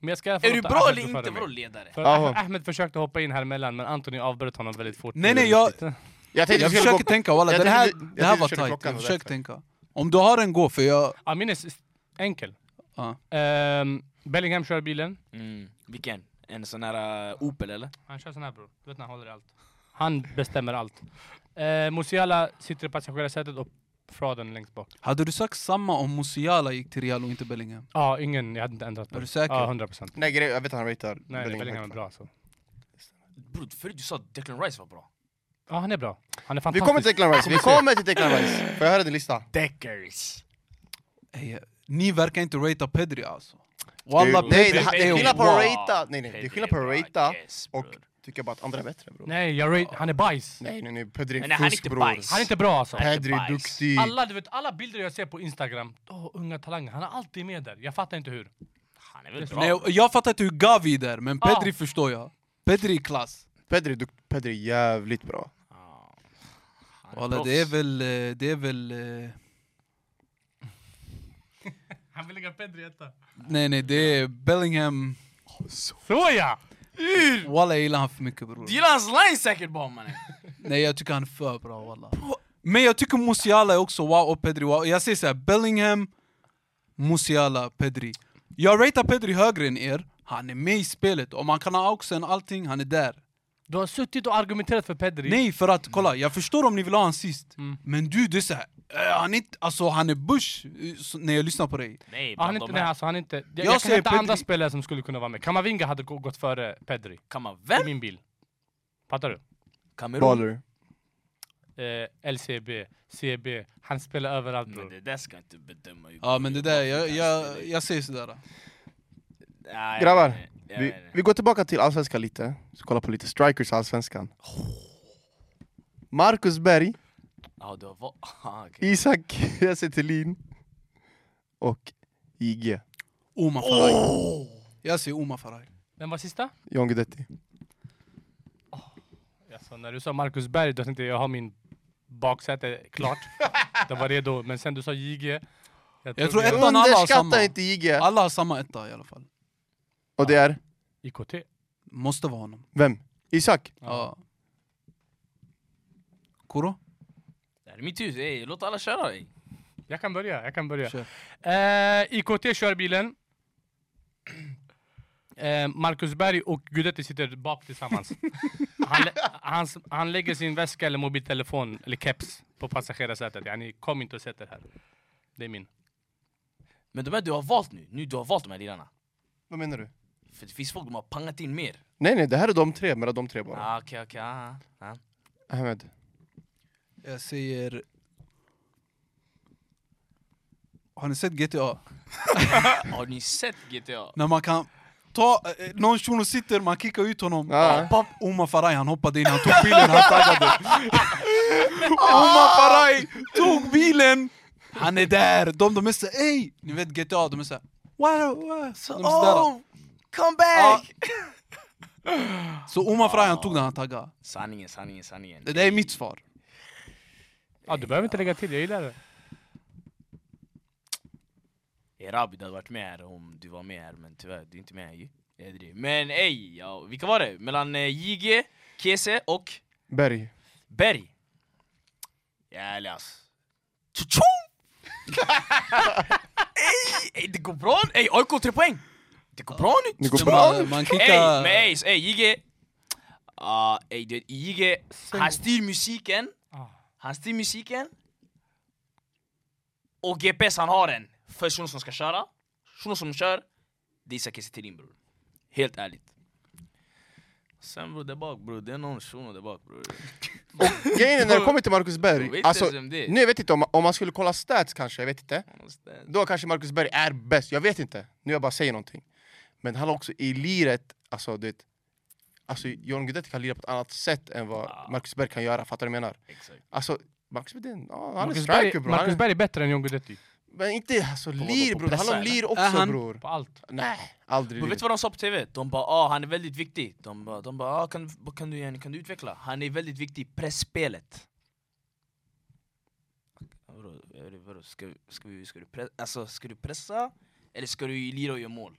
E: Men jag ska i alla fall
A: Är du
E: låta
A: bra
E: Ahmed
A: eller
E: gå före
A: inte?
E: mig.
A: Vadå ledare?
E: För
B: Jaha.
E: Ahmed försökte hoppa in här emellan men Anthony avbröt honom väldigt fort.
D: Nej, nej, jag-
B: Jag tänkte
D: Jag
B: vi skulle
D: försöker
B: gå-
D: tänka walla,
B: jag
D: det här,
B: tänkte vi- jag
D: det här
B: tänkte
D: var
B: vi körde
D: tight
B: klockan,
D: Jag
B: det var
D: försöker
B: därför.
D: tänka Om du har en gå, för jag...
E: Ja, min är s- enkel.
D: Ja.
E: Ehm, Bellingham kör bilen.
A: Mm, vilken? En sån här uh, Opel eller?
E: Han kör sån här bror. Du vet när han håller i allt. Han bestämmer allt. Eh, Musiala sitter i passagerarsätet och fraden längst bak.
D: Hade du sagt samma om Musiala gick till Real och inte Bellingham?
E: Ja, ingen. Jag hade inte ändrat på
D: Är du
E: det.
D: säker?
E: Ja, 100 procent.
B: Nej, grej, jag vet att han ratear
E: Nej, Bellingham, Bellingham är
B: högt.
E: bra alltså.
A: Bror förut du sa att Declan Rice var bra.
E: Ja, han är bra. Han är
B: Vi
E: fantastisk.
B: kommer till Declan Rice, vi kommer till Declan Rice. Får jag höra din lista?
A: Deckers.
D: Ey, ni verkar inte ratea Pedri alltså Walla,
B: Det- nej,
D: Pedri
B: det här- det är
D: är
B: skillnad på
A: bra.
B: att ratea, nej nej, det är skillnad på att
A: Pedri är bra,
B: ratea
A: yes,
B: och
A: bror.
B: tycka bara att andra är bättre bror.
E: Nej, jag rate- han är bajs.
B: Nej nej nej, Pedri
A: Men
B: är
A: nej, han är
B: fusk,
A: inte
B: bror.
A: bajs.
E: Han är inte bra alltså.
A: Nej.
B: Pedri är
A: bajs.
B: duktig.
E: Alla, du vet, alla bilder jag ser på Instagram, åh, unga talanger, han är alltid med där. Jag fattar inte hur.
A: Han är väl bra?
D: Nej, jag fattar inte hur Gavi är där, men Pedri
E: Ah.
D: förstår jag Pedri är klass
B: Pedri, är dukt- Pedri är jävligt bra.
A: Ja. Han är
D: Walla,
A: proffs.
D: det är väl... eh, Det är väl... eh,
E: Han vill lägga Pedri etta.
D: Nej nej, det är Bellingham...
E: Såja!
D: Walla jag gillar han för mycket bror
A: Du gillar hans line säkert bara mannen.
D: Nej jag tycker han är för bra walla Men jag tycker Musiala är också wow och Pedri wow Jag säger såhär, Bellingham, Musiala, Pedri Jag ratear Pedri högre än er, han är med i spelet Om han kan ha oxen allting, han är där
E: Du har suttit och argumenterat för Pedri.
D: Nej för att kolla, jag förstår om ni vill ha han sist
E: Mm.
D: Men du det är såhär, eh, han är inte, alltså han är bush eh, så- när jag lyssnar på dig
A: Nej,
E: Ja,
A: bland
E: han är inte,
A: de
E: nej,
A: här
E: alltså, han är inte. Jag,
D: Jag
E: jag kan
D: ser
E: hitta
D: Pedri-
E: andra spelare som skulle kunna vara med. Kamavinga hade gå- gått före Pedri.
A: kan man
E: I
A: vem?
E: min bil. Fattar du?
A: Kamerun?
B: Baller.
E: Eh, LCB, CB, han spelar överallt
A: Men
E: bror.
A: det där ska inte bedöma hur
D: Ja men det där, jag, jag, jag säger sådär
A: Nej,
B: Grabbar,
A: nej, nej,
B: Vi,
A: nej.
B: vi går tillbaka till allsvenskan lite, så kolla på lite strikers i allsvenskan. Marcus Berg,
A: Ja, du har va- Aha, okej.
B: Isak Esselin och IG,
D: Oma Faraj Jag säger Oma Faraj
E: Vem var sista?
B: John Guidetti.
E: Alltså, när du sa Marcus Berg, då tänkte jag jag har min baksäte klart. det var redo. Men sen du sa JG.
D: Jag tror
E: jag-
D: ett- alla har samma.
B: Underskatta inte IG!
D: Alla har samma etta i alla fall,
B: Och det är,
E: IKT.
D: måste vara honom
B: vem? Isak?
D: Ja. Kuro?
A: Det här är mitt hus, ey, låt alla köra ey.
E: Jag kan börja, jag kan börja.
D: Kör.
E: Eh, IKT kör bilen. Eh, Marcus Berg och Gudetti sitter bak tillsammans. han, lä- han, s- han lägger sin väska eller mobiltelefon eller keps på passagerarsätet. Yani, kom inte och sätt er här. Det är min.
A: Men de här du har valt nu, nu du har valt de här lirarna.
B: Vad menar du?
A: För det finns folk de har pangat in mer.
B: Nej nej, det här är de tre, mellan de tre bara.
A: Ah, okej, okej, ah, ah.
B: Ahmed.
D: Jag säger... Har ni sett GTA? Ah!
A: Har ni sett GTA?
D: När man kan ta... eh, Någon shuno sitter, man kickar ut honom.
B: Ja.
D: Papp, Omar Faraj han hoppade in, han tog bilen, han taggade. Omar Faraj tog bilen! Han är där! De, de är så ey! Ni vet GTA, de är såhär wow, wow. De är Ah! sådär.
A: Oh, Come back!
D: Så Omar Frahi han tog den, han taggade.
A: Sanningen, sanningen, sanningen.
D: Det där är mitt svar.
E: Ja, du behöver inte lägga till, jag gillar det.
A: Erabi, du hade varit med här om du var med här, men tyvärr, du är inte med här ju. Jag driver. Men ey, ja, vilka var det? Mellan eh, JG, Kese och
B: Berg.
A: Berg. Jävlar ass. Tjo-tjo! ey, ey, det går bra! Ey, AIK tre poäng! Det går bra nu!
B: Det går bra.
D: Man, man kan
A: Ey,
D: inte...
A: men ey, så, ey, JG. Ah, ey, du vet, JG, han styr musiken.
E: Ah.
A: Han styr musiken. Och GPS han har en för shunon som ska köra. Shunon som kör, det är Isak Kiese bror. Helt ärligt. Sen bror, där bak bror, det är någon shuno där bak bror.
B: Grejen är när det kommer till Marcus
A: Jag vet
B: Berg,
A: inte
B: alltså,
A: ens vem det är.
B: nu jag vet inte om, om man skulle kolla stats kanske, jag vet inte.
A: Någonstans.
B: Då kanske Marcus Berg är bäst, jag vet inte. Nu jag bara säger någonting. Men han har också i liret, alltså du vet, alltså John Guidetti kan lira på ett annat sätt än
A: Ah.
B: vad Marcus Berg kan göra, fattar du vad jag menar?
A: Exakt.
B: Alltså, Marcus Berg, det är en- ja, han är
E: Marcus
B: striker
E: Berg,
B: bror. Han
E: Marcus
B: är-
E: Berg är bättre än John Guidetti.
B: Men inte alltså
A: vadå,
B: lir
A: på
B: bror, det handlar om
A: pressa,
B: lir också
D: Är han-
B: bror.
E: På allt.
B: Nej, aldrig
A: Men
B: i
A: vet du
B: livet.
A: vad de sa på TV? De bara ah, han är väldigt viktig. De bara, de bara ah, kan, kan, du, kan du utveckla? Han är väldigt viktig i pressspelet. Vadå, är det- vadå, ska, ska, vi, ska, du pre- alltså, ska du pressa eller ska du lira och göra mål?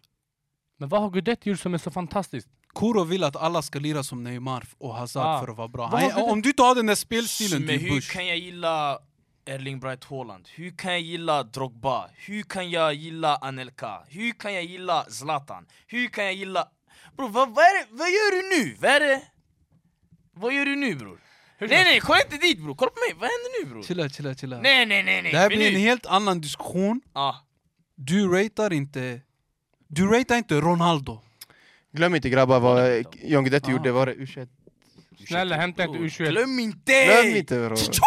E: Men vad har Guidetti gjort som är så fantastiskt?
D: Kuro vill att alla ska lira som Neymar och Hazard
E: Ah.
D: för att vara bra.
E: Vad har
D: Han,
E: vi-
D: om du tar den där spelstilen
A: Men
D: till
A: hur
D: Bush.
A: kan jag gilla Erling Bright Haaland? Hur kan jag gilla Drogba? Hur kan jag gilla Anelka? Hur kan jag gilla Zlatan? Hur kan jag gilla... Bror vad, vad, är det, vad gör du nu? Vad är det? Vad gör du nu bror? Nej nej, kolla inte dit bror! Kolla på mig, vad händer nu bror?
D: Chilla, chilla, chilla.
A: Nej nej nej nej!
D: Det här
A: Vi
D: blir en
A: nu- Ah.
D: helt annan diskussion.
A: Ja.
D: Du ratear inte... Du ratear inte Ronaldo.
B: Glöm inte grabbar vad eh, John Guidetti
D: Ah.
B: gjorde, var det U21?
E: Snälla hämta inte
A: Bror,
E: U21.
A: Glöm inte!
B: Glöm inte bror!
A: Tjo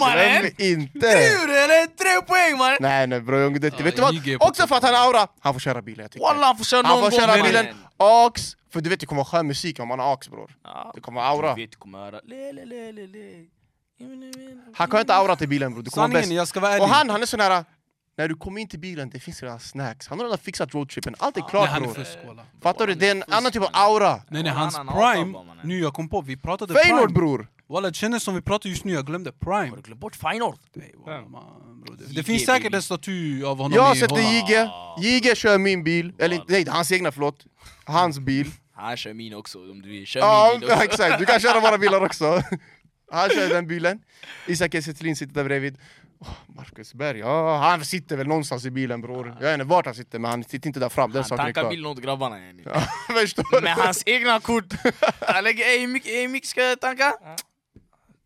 A: mannen!
B: Glöm inte!
A: Tur eller? Tre poäng mannen!
B: Nej nej bror, John Guidetti,
D: Ja,
B: vet du vad?
D: IG på
B: Också för att han har aura, han får köra bilen jag tycker.
A: Walla han får köra någon
B: Han får
A: gång
B: köra bilen,
A: mannen.
B: AX! För du vet det kommer vara skön musik om man har AX bror.
A: Ja.
B: Det kommer vara aura.
A: Du vet du kommer höra le le le le le
B: Han kan inte aura till bilen bror, du kommer vara
D: Sanningen,
B: bäst.
D: jag ska vara ärlig.
B: Och han, han är så nära. När du kommer in till bilen, det finns redan snacks. Han har redan fixat roadtrippen, allt är
D: Nej,
B: klart
D: han är
B: bror.
D: fusk walla.
B: Fattar du? Det är en
A: Fusk,
B: annan typ av
A: mannen.
B: aura.
D: Nej nej,
A: Han-
D: hans
A: han hatar
D: prime...
A: bara, mannen.
D: Nu jag kom på, vi pratade
B: Feyenoord
D: prime.
B: bror!
D: Walla det kändes som vi pratade just nu, jag glömde prime.
A: Har du glömt bort Feyenoord?
D: Nej, walla, man, bror. Det,
A: JG,
D: det finns säkert
A: baby.
D: en staty av honom
B: Jag har
D: i
B: sett det
D: Holland.
B: JG, JG kör min bil, eller nej hans egna förlåt, hans bil.
A: Han kör min också om du vill, kör
B: Ja
A: min bil också.
B: exakt, du kan köra våra bilar också. Han kör den bilen, Isak Esse Thulin sitter där bredvid. Åh, Marcus Berg, ja, han sitter väl någonstans i bilen bror. Jag vet inte vart han sitter men han sitter inte där fram, den
A: Han
B: saken är
A: tankar
B: klar.
A: bilen åt grabbarna yani.
B: Ja, Förstår du?
A: Med hans egna kort. Han lägger ey hur mycket- ey, hur mycket ska jag tanka?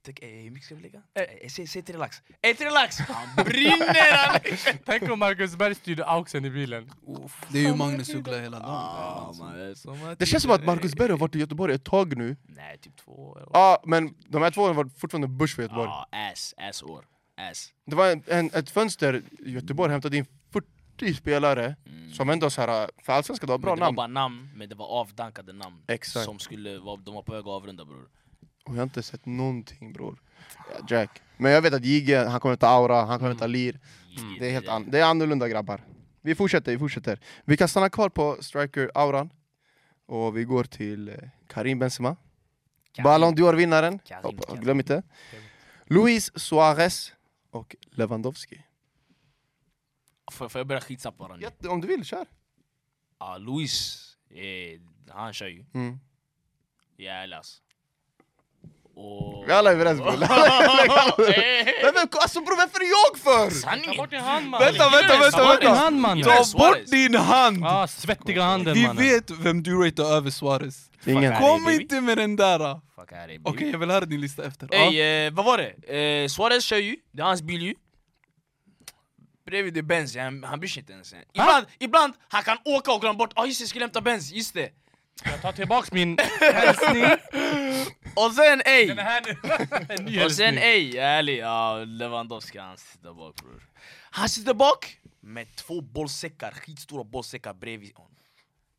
A: Tänk ey hur mycket ska vi lägga? Ey, ey, Säg säg till relax. Ey till relax! Han brinner! han-
E: Tänk om Marcus Berg styrde auxen i bilen.
D: Uff, Det är ju Magnus Uggla hela dagen.
A: Ja, man, alltså. det är som att-
B: Det känns som att Marcus Berg har varit i Göteborg ett tag nu.
A: Nej, typ två år. eller vad?
B: Ja, men de här två åren var fortfarande Bush för Göteborg.
A: Ja, ass, ass år. Ass.
B: Det var en, en, ett fönster, Göteborg hämtade in 40 spelare som ändå så här, för allsvenskan, det var bra
A: Mm. men det
B: namn.
A: var bara namn, men det var avdankade namn.
B: Exakt.
A: Som skulle, vara- de var på väg att avrunda bror.
B: Och jag har inte sett någonting bror. Ja, Jack. Men jag vet att Jigge, han kommer ta aura, han kommer
A: Mm.
B: ta lir. Mm, Det är, helt an- det är annorlunda grabbar. Vi fortsätter, vi fortsätter. Vi kan stanna kvar på striker-auran. Och vi går till eh, Karim Benzema.
A: Karim.
B: Ballon d'Or-vinnaren.
A: Karim,
B: Hoppa-
A: Karim.
B: Glöm inte. Luis Suarez och Lewandowski.
A: Får, får jag börja skitsnabbt bara nu?
B: Jätte- om du vill, kör.
A: Ah, Luis, eh, han kör ju.
B: Mm.
A: Jävlar alltså. Och...
B: Vi är alla överens bror.
A: Eh,
B: Men, men, alltså bror, varför är jag för?
E: Ta
A: Sanningen!
E: bort din hand mannen!
D: Vänta, vänta, vänta,
E: Ta bort din
D: vänta.
E: hand mannen!
A: Ja.
D: Ta
A: Suarez.
D: bort din hand!
E: Ah, svettiga handen
D: Vi
E: mannen!
D: vet vem du ratear över Suarez.
B: Ingen.
A: Fuck. Nej,
D: Kom
A: baby.
D: inte med den där! Okej,
A: Fuck out it, baby.
D: jag vill höra din lista efter. Ja.
A: Ey, eh, vad var det? Eh, Suarez kör ju, det är hans bil ju. Bredvid är Benz, han, han bryr sig inte ens. Ibland, ibland han kan åka och glömma bort, ah just det, jag skulle hämta Benz, just det.
E: Jag tar tillbaks min hälsning.
A: Och sen ey!
E: Den är här nu. En ny
A: Och sen
E: hälsning.
A: ej, ärlig, ja, Lewandowski han sitter bak bror. Han sitter bak med två bollsäckar, skitstora bollsäckar bredvid honom.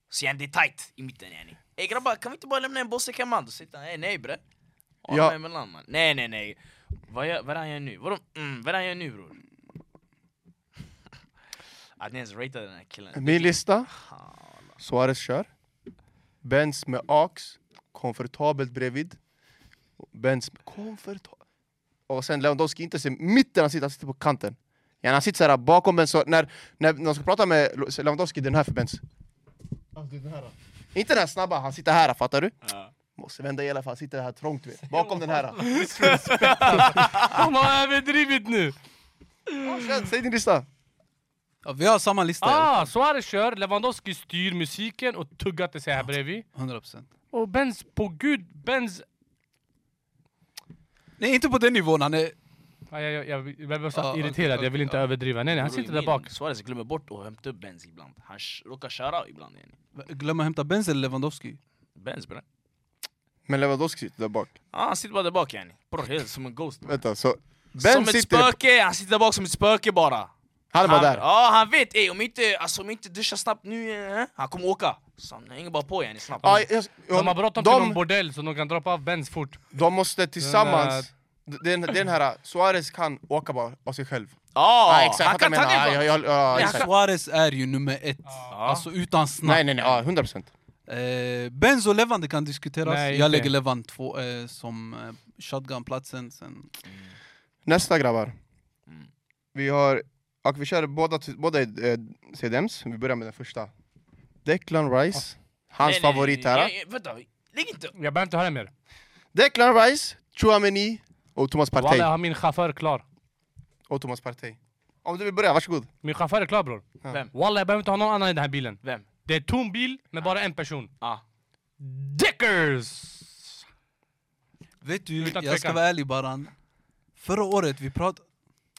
A: Så han det är tight i mitten yani. Ey grabbar, kan vi inte bara lämna en bollsäck hemma? Då säger han, ey nej bre.
B: Ja.
A: Ja. Emellan, man. Nej nej nej. Vad, gör, vad är det han gör nu? Vadå? Mm, vad är det han gör nu bror? Att ni ens ratade den här killen.
B: Min lista,
A: Ah,
B: Suarez kör. Benz med Ax, komfortabelt bredvid. Benz komfortabelt. Och sen Lewandowski inte sig mitten, han sitter, han sitter på kanten. Ja, han sitter såhär bakom Benz, så när, när de ska prata med Lewandowski, den här för Benz. Alltså, den här. Inte den här snabba, han sitter här, fattar du?
A: Ja.
B: Måste vända i alla fall, han sitter här trångt vet. bakom den här.
E: De har överdrivit nu!
B: Kör, Säg din lista!
D: Ja, vi har samma lista. i alla
E: Ah, Suarez kör, Lewandowski styr musiken och tuggar till sig här bredvid.
D: fall. 100%.
E: Och Benz, på gud, Benz...
D: Nej, inte på den nivån. Han är...
E: Ah, jag, jag, jag, jag blev så
D: Ah,
E: irriterad, jag vill inte
D: okej,
E: överdriva. Nej, nej, han
A: Bror,
E: sitter där
A: min
E: bak.
A: Suarez glömmer bort att hämta upp Benz ibland. Han sh- råkar köra ibland. Yani.
D: Glöm att hämta Benz eller Lewandowski.
A: Benz bre.
B: Men Lewandowski sitter där bak.
A: Ah, han sitter bara där bak yani. Bror, helt som en ghost.
B: Vänta, så
A: som
B: Benz
A: ett
B: sitter...
A: spöke, han sitter där bak som ett spöke bara.
B: Han är bara där.
A: Ja, han vet. Ey, om inte, alltså, om inte duschar snabbt nu, eh, han kommer åka. Så han hänger bara på yani snabbt.
B: Ja, jag, jag,
E: De har bråttom till någon
B: de,
E: bordell så de kan droppa av Benz fort.
B: de måste tillsammans... Den, den här, Suarez kan åka bara av sig själv.
A: Ja,
B: Ja, exakt,
A: han kan ta
B: menar.
A: det
B: Ja,
A: ibland.
B: jag-
A: Ja,
B: ja, exakt.
D: Suarez är ju nummer ett. Alltså utan snack.
B: Nej nej nej, ja, 100 procent.
D: Eh, Benz och Levan det kan diskuteras.
E: Nej, inte.
D: jag lägger Levan två, eh, som eh, shotgunplatsen. Sen.
B: Nästa grabbar.
A: Mm.
B: Vi har, och vi kör båda, båda är, eh, CDMs, vi börjar med den första. Declan Rice, hans
A: Nej, nej,
B: favorit
A: nej,
B: här.
A: nej, nej, Vänta, lägg inte...
E: Jag behöver inte höra mer.
B: Declan Rice, Chouameni och Thomas
E: Walla,
B: Partey.
E: jag har min chaufför klar.
B: Och Thomas Partey. Om du vill börja, varsågod.
E: Min chaufför är klar bror.
B: Ja.
A: Vem?
E: Walla, jag behöver inte ha någon annan i den här bilen.
A: Vem?
E: Det är tom bil med bara en person.
A: Ah.
E: Dickers!
D: Vet du, jag
E: Utan
D: ska
E: tvekan.
D: vara ärlig Baran. Förra året vi pratade...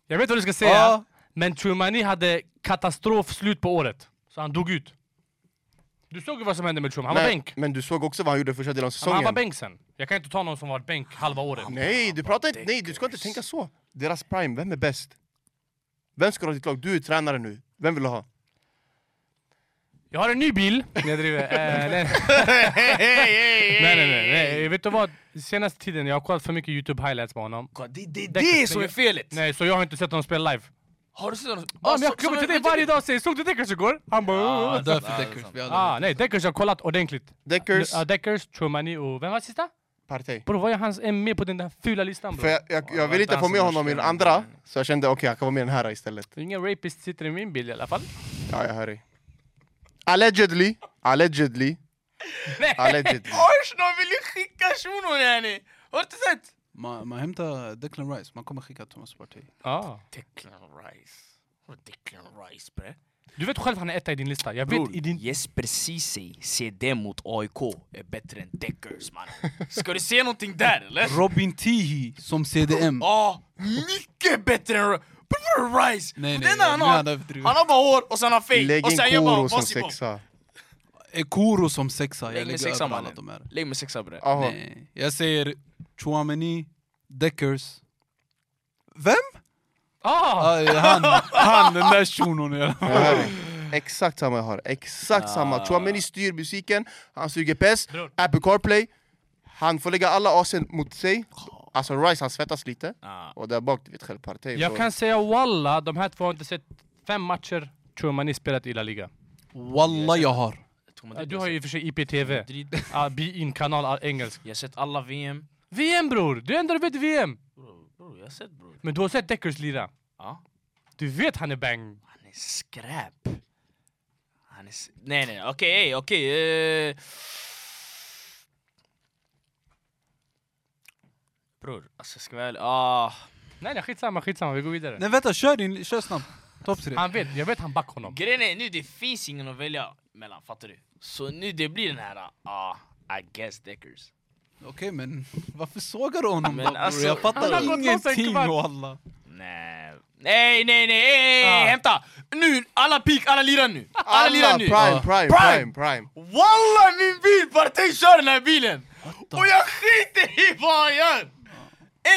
E: Jag vet vad du ska säga,
D: Ja,
E: men Chumani hade katastrofslut på året. Så han dog ut. Du såg ju vad som hände med Chum, han var
B: Nej,
E: bänk.
B: Men du såg också vad han gjorde första delen av
E: Ja, men
B: säsongen.
E: Han var bänk sen. Jag kan inte ta någon som varit bänk halva året.
B: Nej, du pratar inte, nej, du ska inte tänka så. Deras prime, vem är bäst? Vem ska ha ditt lag? Du är tränare nu. Vem vill du ha?
E: Jag har en ny bil. Nej, Jag driver. Eh, nej. nej, nej, nej, nej. Vet du vad? Senaste tiden, jag har kollat för mycket YouTube highlights på honom.
A: God, Det, det, det
E: Deckers,
A: är som
E: men
A: är felet!
E: Nej, så jag har inte sett honom spela live.
A: Har du sett honom? Alltså,
E: Ja, men jag kommer till dig varje dag och säger “Såg du Deckers igår?” Han bara...
A: Ja,
E: "Åh."
A: det-
D: därför
A: Ja,
D: Deckers.
A: sant.
D: Vi hade
E: Ah, nej, Deckers har kollat ordentligt.
B: Deckers,
E: Ja, Deckers, Chumani och... Vem var sista?
B: Partey.
E: Bror, vad är hans M med på den där fula listan
B: För
E: bror?
B: jag, jag,
A: Ja,
B: jag vill inte
A: vänta,
B: få med
A: han
B: honom i
A: som
B: den
A: har
B: andra,
A: spelat.
B: så jag kände okej, han kan vara med i den här istället.
E: Ingen rapist sitter i min bil i alla fall.
B: Ja, jag hör dig. Allegedly, allegedly, allegedly.
A: Arsenal vill ju skicka shunon yani! Har du inte sett?
D: Man, man hämtar Declan Rice, man kommer skicka Thomas Partey.
E: Ah.
A: Declan Rice. Vadå Declan Rice bre?
E: Du vet själv han är etta i din lista. Jag vet i din...
A: Jesper Ceesay, CD mot AIK är bättre än Deckers man. Ska du se någonting där eller?
D: Robin Tihi som CDM.
A: Ja, mycket bättre än Bror Rice!
D: Nej,
A: Det
D: nej,
A: enda han
D: nu
A: har,
D: hade jag överdrivit.
A: han har bara hår och sen har fake
B: Lägg
A: och
B: in
A: sen gör bara
B: Koro som
A: bossy pop.
B: sexa.
D: Ekoro som sexa. Jag
A: Lägg med
D: lägger
A: sexa
D: över alla
A: mannen.
D: de här.
A: Lägg med sexa bre.
B: Jaha,
D: Nej, jag säger Chouameni, Deckers. Vem?
E: Ah!
D: Ah, han, han, den där shunon. i alla fall.
B: jag hör dig. Exakt samma jag har, exakt samma. Chouameni styr musiken, han styr GPS,
E: Bror.
B: Apple CarPlay. Han får lägga alla AC'n mot sig. Alltså Rice han svettas lite,
A: Ah.
B: och där bak du vet själv Partey.
E: Jag
B: så-
E: kan säga walla, de här två har inte sett fem matcher Chumani spelat i La Liga.
D: Wallah jag har.
A: Tror man
E: Ja,
A: det
E: Du
A: blir
E: har
A: så?
E: ju i och för sig IPTV.
A: Madrid.
E: Ah, Be in-kanal, ah, engelsk.
A: Jag har sett alla VM.
E: VM bror! Du är ändå du vet VM!
A: Bror, bror, jag har sett bror.
E: Men du har sett Deckers lira.
A: Ja.
E: Du vet han är bang.
A: Han är skräp. Han är... s- Nej, nej, okej, okay, okej. eh. Okay, Bror, alltså jag ska väl... Ah,
E: Nej nej, skitsamma, skitsamma, vi går vidare.
D: Nej vänta, kör din, kör snabbt. Topp tre.
E: Han vet, jag vet han back honom.
A: grejen är nu, det finns ingen att välja mellan, fattar du? Så nu det blir den här... Ah, I guess Deckers.
D: Okej men varför sågar du honom
A: Men
D: då? bror?
A: alltså,
D: jag
A: han
E: har
D: fattar
E: gått loss en
D: ingenting
E: kvart.
D: wallah.
A: Nej, nej, nej, nej, hey, hey,
E: Ah.
A: hämta! Nu, alla peak, alla lirar nu! Alla,
B: Alla
A: lirar
B: prime,
A: nu!
B: prime, prime, prime,
A: Prime! Walla min bil! Partey kör den här bilen! Och jag skiter i vad han gör!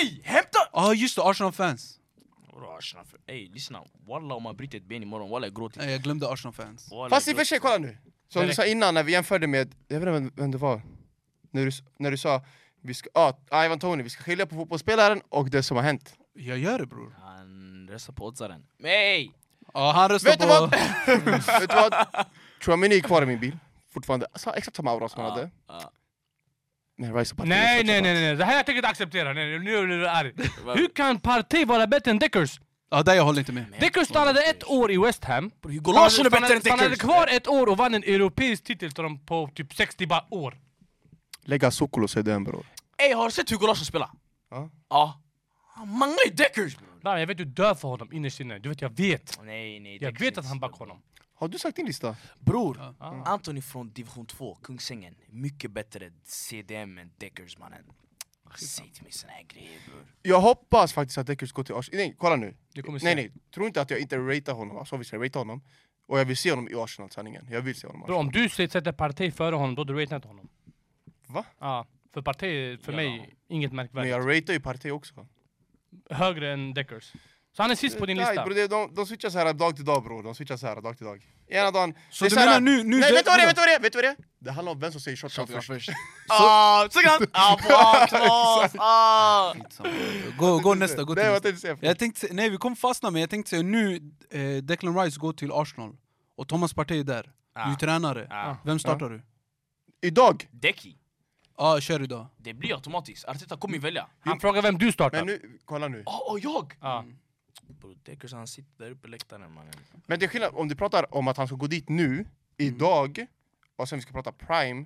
A: Ey, hämta!
D: Ja ah, just det, Arsenal-fans.
A: Vadå Arsenal? För, ey lyssna, walla om man bryter ett ben imorgon, walla jag gråter
D: Nej jag glömde Arsenal-fans.
A: Walla,
B: Fast i
A: jag
B: och för
A: gråter.
B: sig, kolla nu. Som du
E: Direkt.
B: sa innan när vi jämförde med, jag vet inte vem, vem det var. När du, s- när du sa, vi ska, ah, Ivan Tony, vi ska skilja på fotbollsspelaren och det som har hänt.
D: Jag gör det bror.
A: Han röstar på oddsaren. Men ey!
D: Ja, han röstar
B: Vet du
D: på...
B: vad? Vet du vad? Chouamini är kvar i min bil. Fortfarande sa- exakt samma aura som han
A: Ja,
B: hade.
A: ja.
B: Men Rice och Partey
E: Nej,
B: fortsätter.
E: nej, nej, nej, det här jag tänker inte acceptera. Nej, nej, nu blir du arg.
A: Vad-
E: Hur kan Partey vara bättre än Deckers?
D: Ja, där jag håller inte med.
E: Deckers stannade ett år i West Ham.
A: Golaschen är bättre än
E: Stannade
A: Tickers!
E: kvar ett år och vann en europeisk titel till dem på typ 60 bara år.
B: Lägga Sokolo så är den bror.
A: Ey, har du sett hur Golaschen spelar?
B: Ja.
A: Ja. Han manglar ju Ah, Deckers bror!
E: Nej, jag vet du dör för honom innerst inne. Du vet, jag vet.
A: Nej, nej.
E: Jag vet att han backar honom.
B: Har du sagt din lista?
A: Bror,
E: Ja.
A: Anthony från division 2, Kungsängen. Mycket bättre CDM än Deckers mannen. Säg inte mig såna här grejer bror.
B: Jag hoppas faktiskt att Deckers går till Arsenal. Nej, kolla nu.
E: Du kommer se.
B: Nej, nej. Tro inte att jag inte ratear honom. Alltså visst, jag ratear honom. Och jag vill se honom i Arsenal, sanningen. Jag vill se honom i
E: Bro,
B: Arsenal.
E: om du sätter Partey före honom, då du ratear inte honom.
B: Va?
E: Ja, för Partey är för
A: Ja.
E: mig inget
B: Men
E: märkvärdigt.
B: jag ratear ju Partey också.
E: Högre än Deckers. Så han är sist på din lista.
B: Bro, de, de, de switchar så här dag till dag bror. De switchar så här dag till dag. Ena dagen...
D: Så
B: det är
D: du
B: här-
D: menar nu- nu-
B: Nej, vet du vad det är? Vet du vad det är? Vet du vad det är? Det handlar om vem som säger shotgun först.
A: Ah, såg han? Ah, bra Klas! Ah!
D: Gå, gå nästa, gå till
B: Nej, vad
D: nästa.
B: tänkte jag säga?
D: Jag tänkte, se- nej vi kommer fastna men jag tänkte säga nu, eh, Declan Rice går till Arsenal och Thomas Partey är där. Du är ju
A: Ah.
D: tränare.
A: Ah.
D: Vem startar du?
B: Idag!
A: Deki,
D: Ja, ah, kör idag.
A: det blir automatiskt. Arteta kommer ju välja.
E: Han frågar vem du startar.
B: Men nu, kolla nu.
A: Ah, och jag!
E: Ja.
A: Bror, Deckers han sitter där uppe på läktaren mannen.
B: Men det är skillnad om du pratar om att han ska gå dit
D: Mm.
B: nu, idag, och sen vi ska prata prime.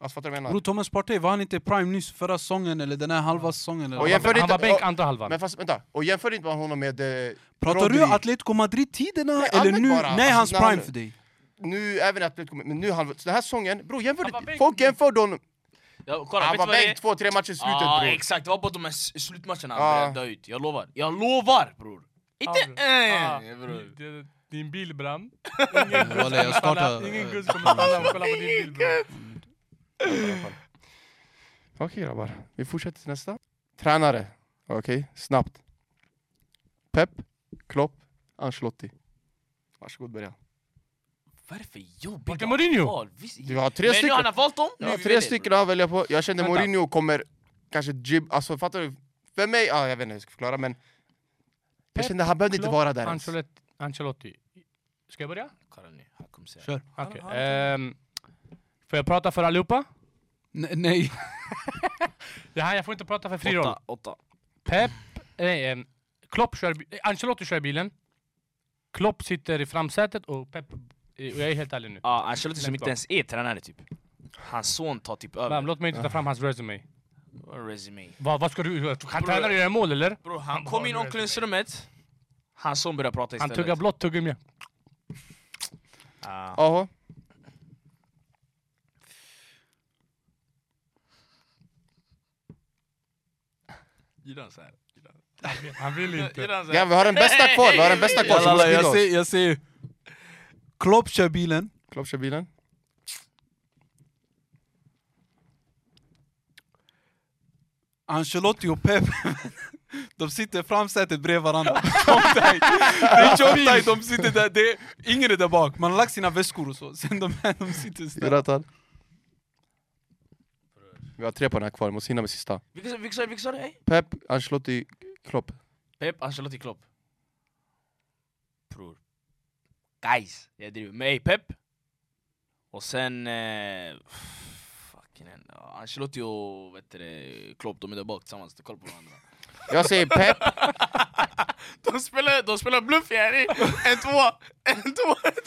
B: Alltså fattar du vad jag menar?
D: Bror Thomas Partey, var han inte i prime nyss förra säsongen eller den här halva säsongen? Eller?
B: Och
D: vad?
B: jämför
E: Han
B: inte-
E: var bänk
B: och-
E: andra halvan.
B: Men fast vänta, och jämför inte bara honom med... Eh,
D: Pratar
B: Rodri.
D: du Atletico Madrid-tiderna
B: Nej,
D: eller
B: allmänt
D: nu?
B: bara.
D: Nej,
B: Alltså,
D: hans
B: när
D: prime
B: han-
D: för dig.
B: Nu, även att men nu han... Så den här säsongen, bror jämför
E: Han var
B: det,
E: bänk.
B: Folk jämförde honom...
A: Ja, kolla,
B: Han
A: vet
B: var
A: du vad det är?
B: bänk två, tre matcher i slutet
A: ah,
B: bror.
A: exakt, det var bara de här s- slutmatcherna
B: Ah.
A: han började dö ut. Jag lovar. Jag lovar bror!
E: Ja,
A: Inte
E: bror.
A: ah,
E: Ah.
A: en! bror.
E: Din- Din bil brann.
D: Walla, jag startar...
E: Ingen guzz kommer stanna och kolla på din bil brann.
B: Okej grabbar, vi fortsätter till nästa. Tränare. Okej, snabbt. Pep, Klopp, Ancelotti. Varsågod börja.
A: Vad är det för
E: Martin
A: jobbiga
E: Mourinho.
A: val? Visst-
B: Du har tre
A: Men nu
B: stycken.
A: han har valt dem, nu
B: Jag har
A: vi
B: tre
A: väljer,
B: stycken
A: bror.
B: att välja på. Jag kände
E: Vänta.
B: Mourinho kommer kanske jib... Alltså fattar du? För mig, ja, jag vet inte hur jag ska förklara men... Jag
E: Pep,
B: kände han behövde inte
E: Klopp,
B: vara där ens.
E: Ancelotti. Ancelotti. Ska jag börja?
A: Kolla nu, han kommer säga.
D: Kör.
E: Okej.
A: han-
E: ehm, Får jag prata för allihopa?
D: Nej, Nej.
E: Det här, jag får inte prata för fri roll.
A: Åtta, åtta.
E: Pep, nej, em, Klopp kör, bi- eh, Ancelotti kör bilen. Klopp sitter i framsätet och Pep, eh, och jag är helt ärlig nu.
A: Ja, Ancelotti som
E: Lätt
A: inte
E: val.
A: ens är tränare typ. Hans son tar typ över.
E: Men, låt mig inte ta fram hans resume.
A: Resume.
E: Vad, vad ska du, eh, kan
A: Bror.
E: tränaren göra mål eller?
A: Bro, han kom in i omklädningsrummet, hans son började prata
E: Han
A: istället.
E: tuggar blått tuggummi.
A: Ah.
B: Jaha.
A: Gillar han så här? Gillar han-
E: Han vill inte.
A: gillar han så här?
B: Ja, vi har den bästa kvar, vi har den bästa kvar. så
D: Walla,
B: måste vi
D: jag
B: gå.
D: ser... Jag ser. Klopp kör bilen.
B: Klopp kör bilen.
D: Ancelotti och Pep, de sitter i framsätet bredvid varandra. Tjocktajt! Det är tjocktajt, de sitter där, det är, ingen är där bak. Man har lagt sina väskor och så, sen de här, de sitter sådär.
B: Jonathan. Vi har tre på den här kvar, vi måste hinna med sista.
A: Vilka sa- vilka sa- vilka sa du? ey?
B: Pep, Ancelotti, Klopp.
A: Pep, Ancelotti, Klopp. Bror. Guys, jag driver. Men ey, Pep. Och sen... Eh, fucking hell. Ja, Ancelotti och vet du, det, Klopp, de är där bak tillsammans. De kollar på varandra.
B: Jag säger Pep,
A: De spelar, de spelar bluff yani! En tvåa! En tvåa! En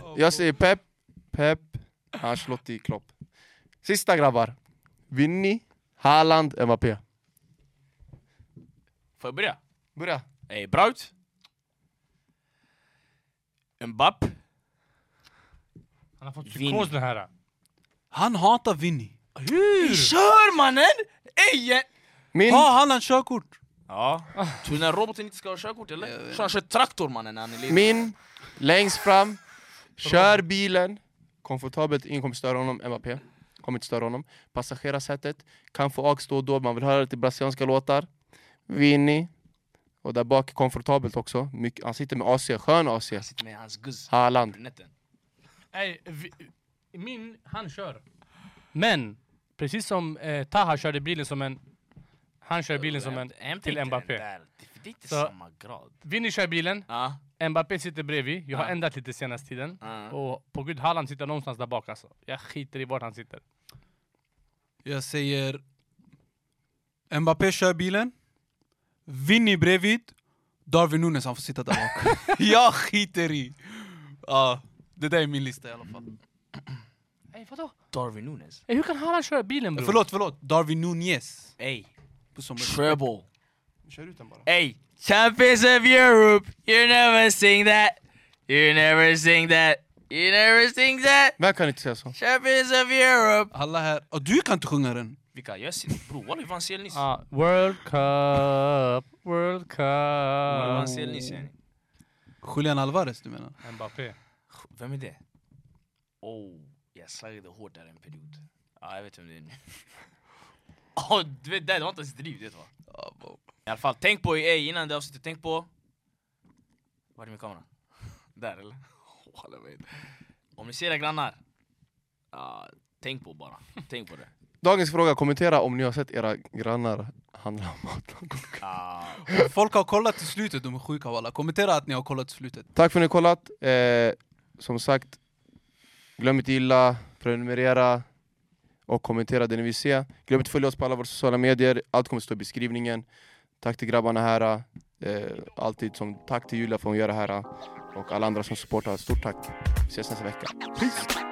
A: tvåa!
B: jag säger Pep, Pep, Ancelotti, Klopp. Sista grabbar. Vinny, Haaland, Mbappé.
A: Får jag börja?
B: Börja.
A: Ey, Braut. Mbapp.
E: Han har fått
A: Vinn.
E: psykos den här.
D: Han hatar Vinny.
E: Hur?
A: Kör mannen! Ey! jag-
B: Min,
D: Har han en körkort?
A: Ja. Tror du den här roboten inte ska ha körkort eller? Så han kör traktor mannen när han är ledig.
B: min, längst fram. Kör bilen. Komfortabelt, ingen kommer störa honom. Mbappé. Kommer inte störa honom. Passagerarsätet. Kan få avstå och då, man vill höra lite brasilianska låtar. Vinny. Och där bak, komfortabelt också. Mycket, han sitter med AC, skön AC.
A: Jag sitter med hans guzz.
B: Haaland.
A: brunetten.
E: Nej, vi, min, han kör. Men, precis som eh, Taha körde bilen som en... Han kör bilen som en...
A: Hämta
E: till
A: inte
E: Mbappé.
A: den där. Det är inte
E: Så-
A: samma grad.
E: Vinny kör bilen,
A: Ja.
E: Mbappé sitter bredvid. Jag har
A: Ja.
E: ändrat lite senaste tiden.
A: Ja.
E: Och på gud, Haaland sitter någonstans där bak alltså. Jag skiter i vart han sitter.
D: Jag säger... Mbappé kör bilen. Vinny bredvid. Darwin Nunes, han får sitta där bak. jag skiter i. Ja, det där är min lista i alla fall.
E: Ey vadå?
A: Darwin Nunes.
E: Ey, hur kan Haaland köra bilen bror?
D: Förlåt, förlåt. Darwin Nunes.
A: Ey,
D: På som-
A: treble.
B: Kör ut den bara.
A: Hey, champions of Europe, you never sing that. You never sing that. You never sing that.
B: Vem kan inte säga så?
A: Champions of Europe.
D: Alla här. Och du kan inte sjunga den.
A: Vilka? Jag ser... Bror, walla hur fan ser ni?
E: Ah, World Cup, World
A: Walla, han
E: Cup.
A: ser ni, ser ni?
D: Julian Alvarez, du menar?
E: Mbappé.
A: Vem är det? Oh, jag slaggade hårt där en period. Ja, jag vet vem det är nu. Oh, du vet, det det var inte ens driv, det var. I alla fall, tänk på, ey, innan det avsnittet, tänk på... Var är min kamera? Där eller? Walla, vad är det? Om ni ser era grannar, ja, tänk på bara. Tänk på det.
B: Dagens fråga, kommentera om ni har sett era grannar handla mat.
A: Ah,
D: Folk har kollat till slutet, de är sjuka alla. Kommentera att ni har kollat till slutet.
B: Tack för att ni har kollat. Eh, som sagt, glöm inte gilla, prenumerera och kommentera det ni vill se. Glöm inte följa oss på alla våra sociala medier. Allt kommer stå i beskrivningen. Tack till grabbarna här. Eh, alltid som tack till Julia för att hon gör det här. Och alla andra som supportar. Stort tack. Vi ses nästa vecka. Peace.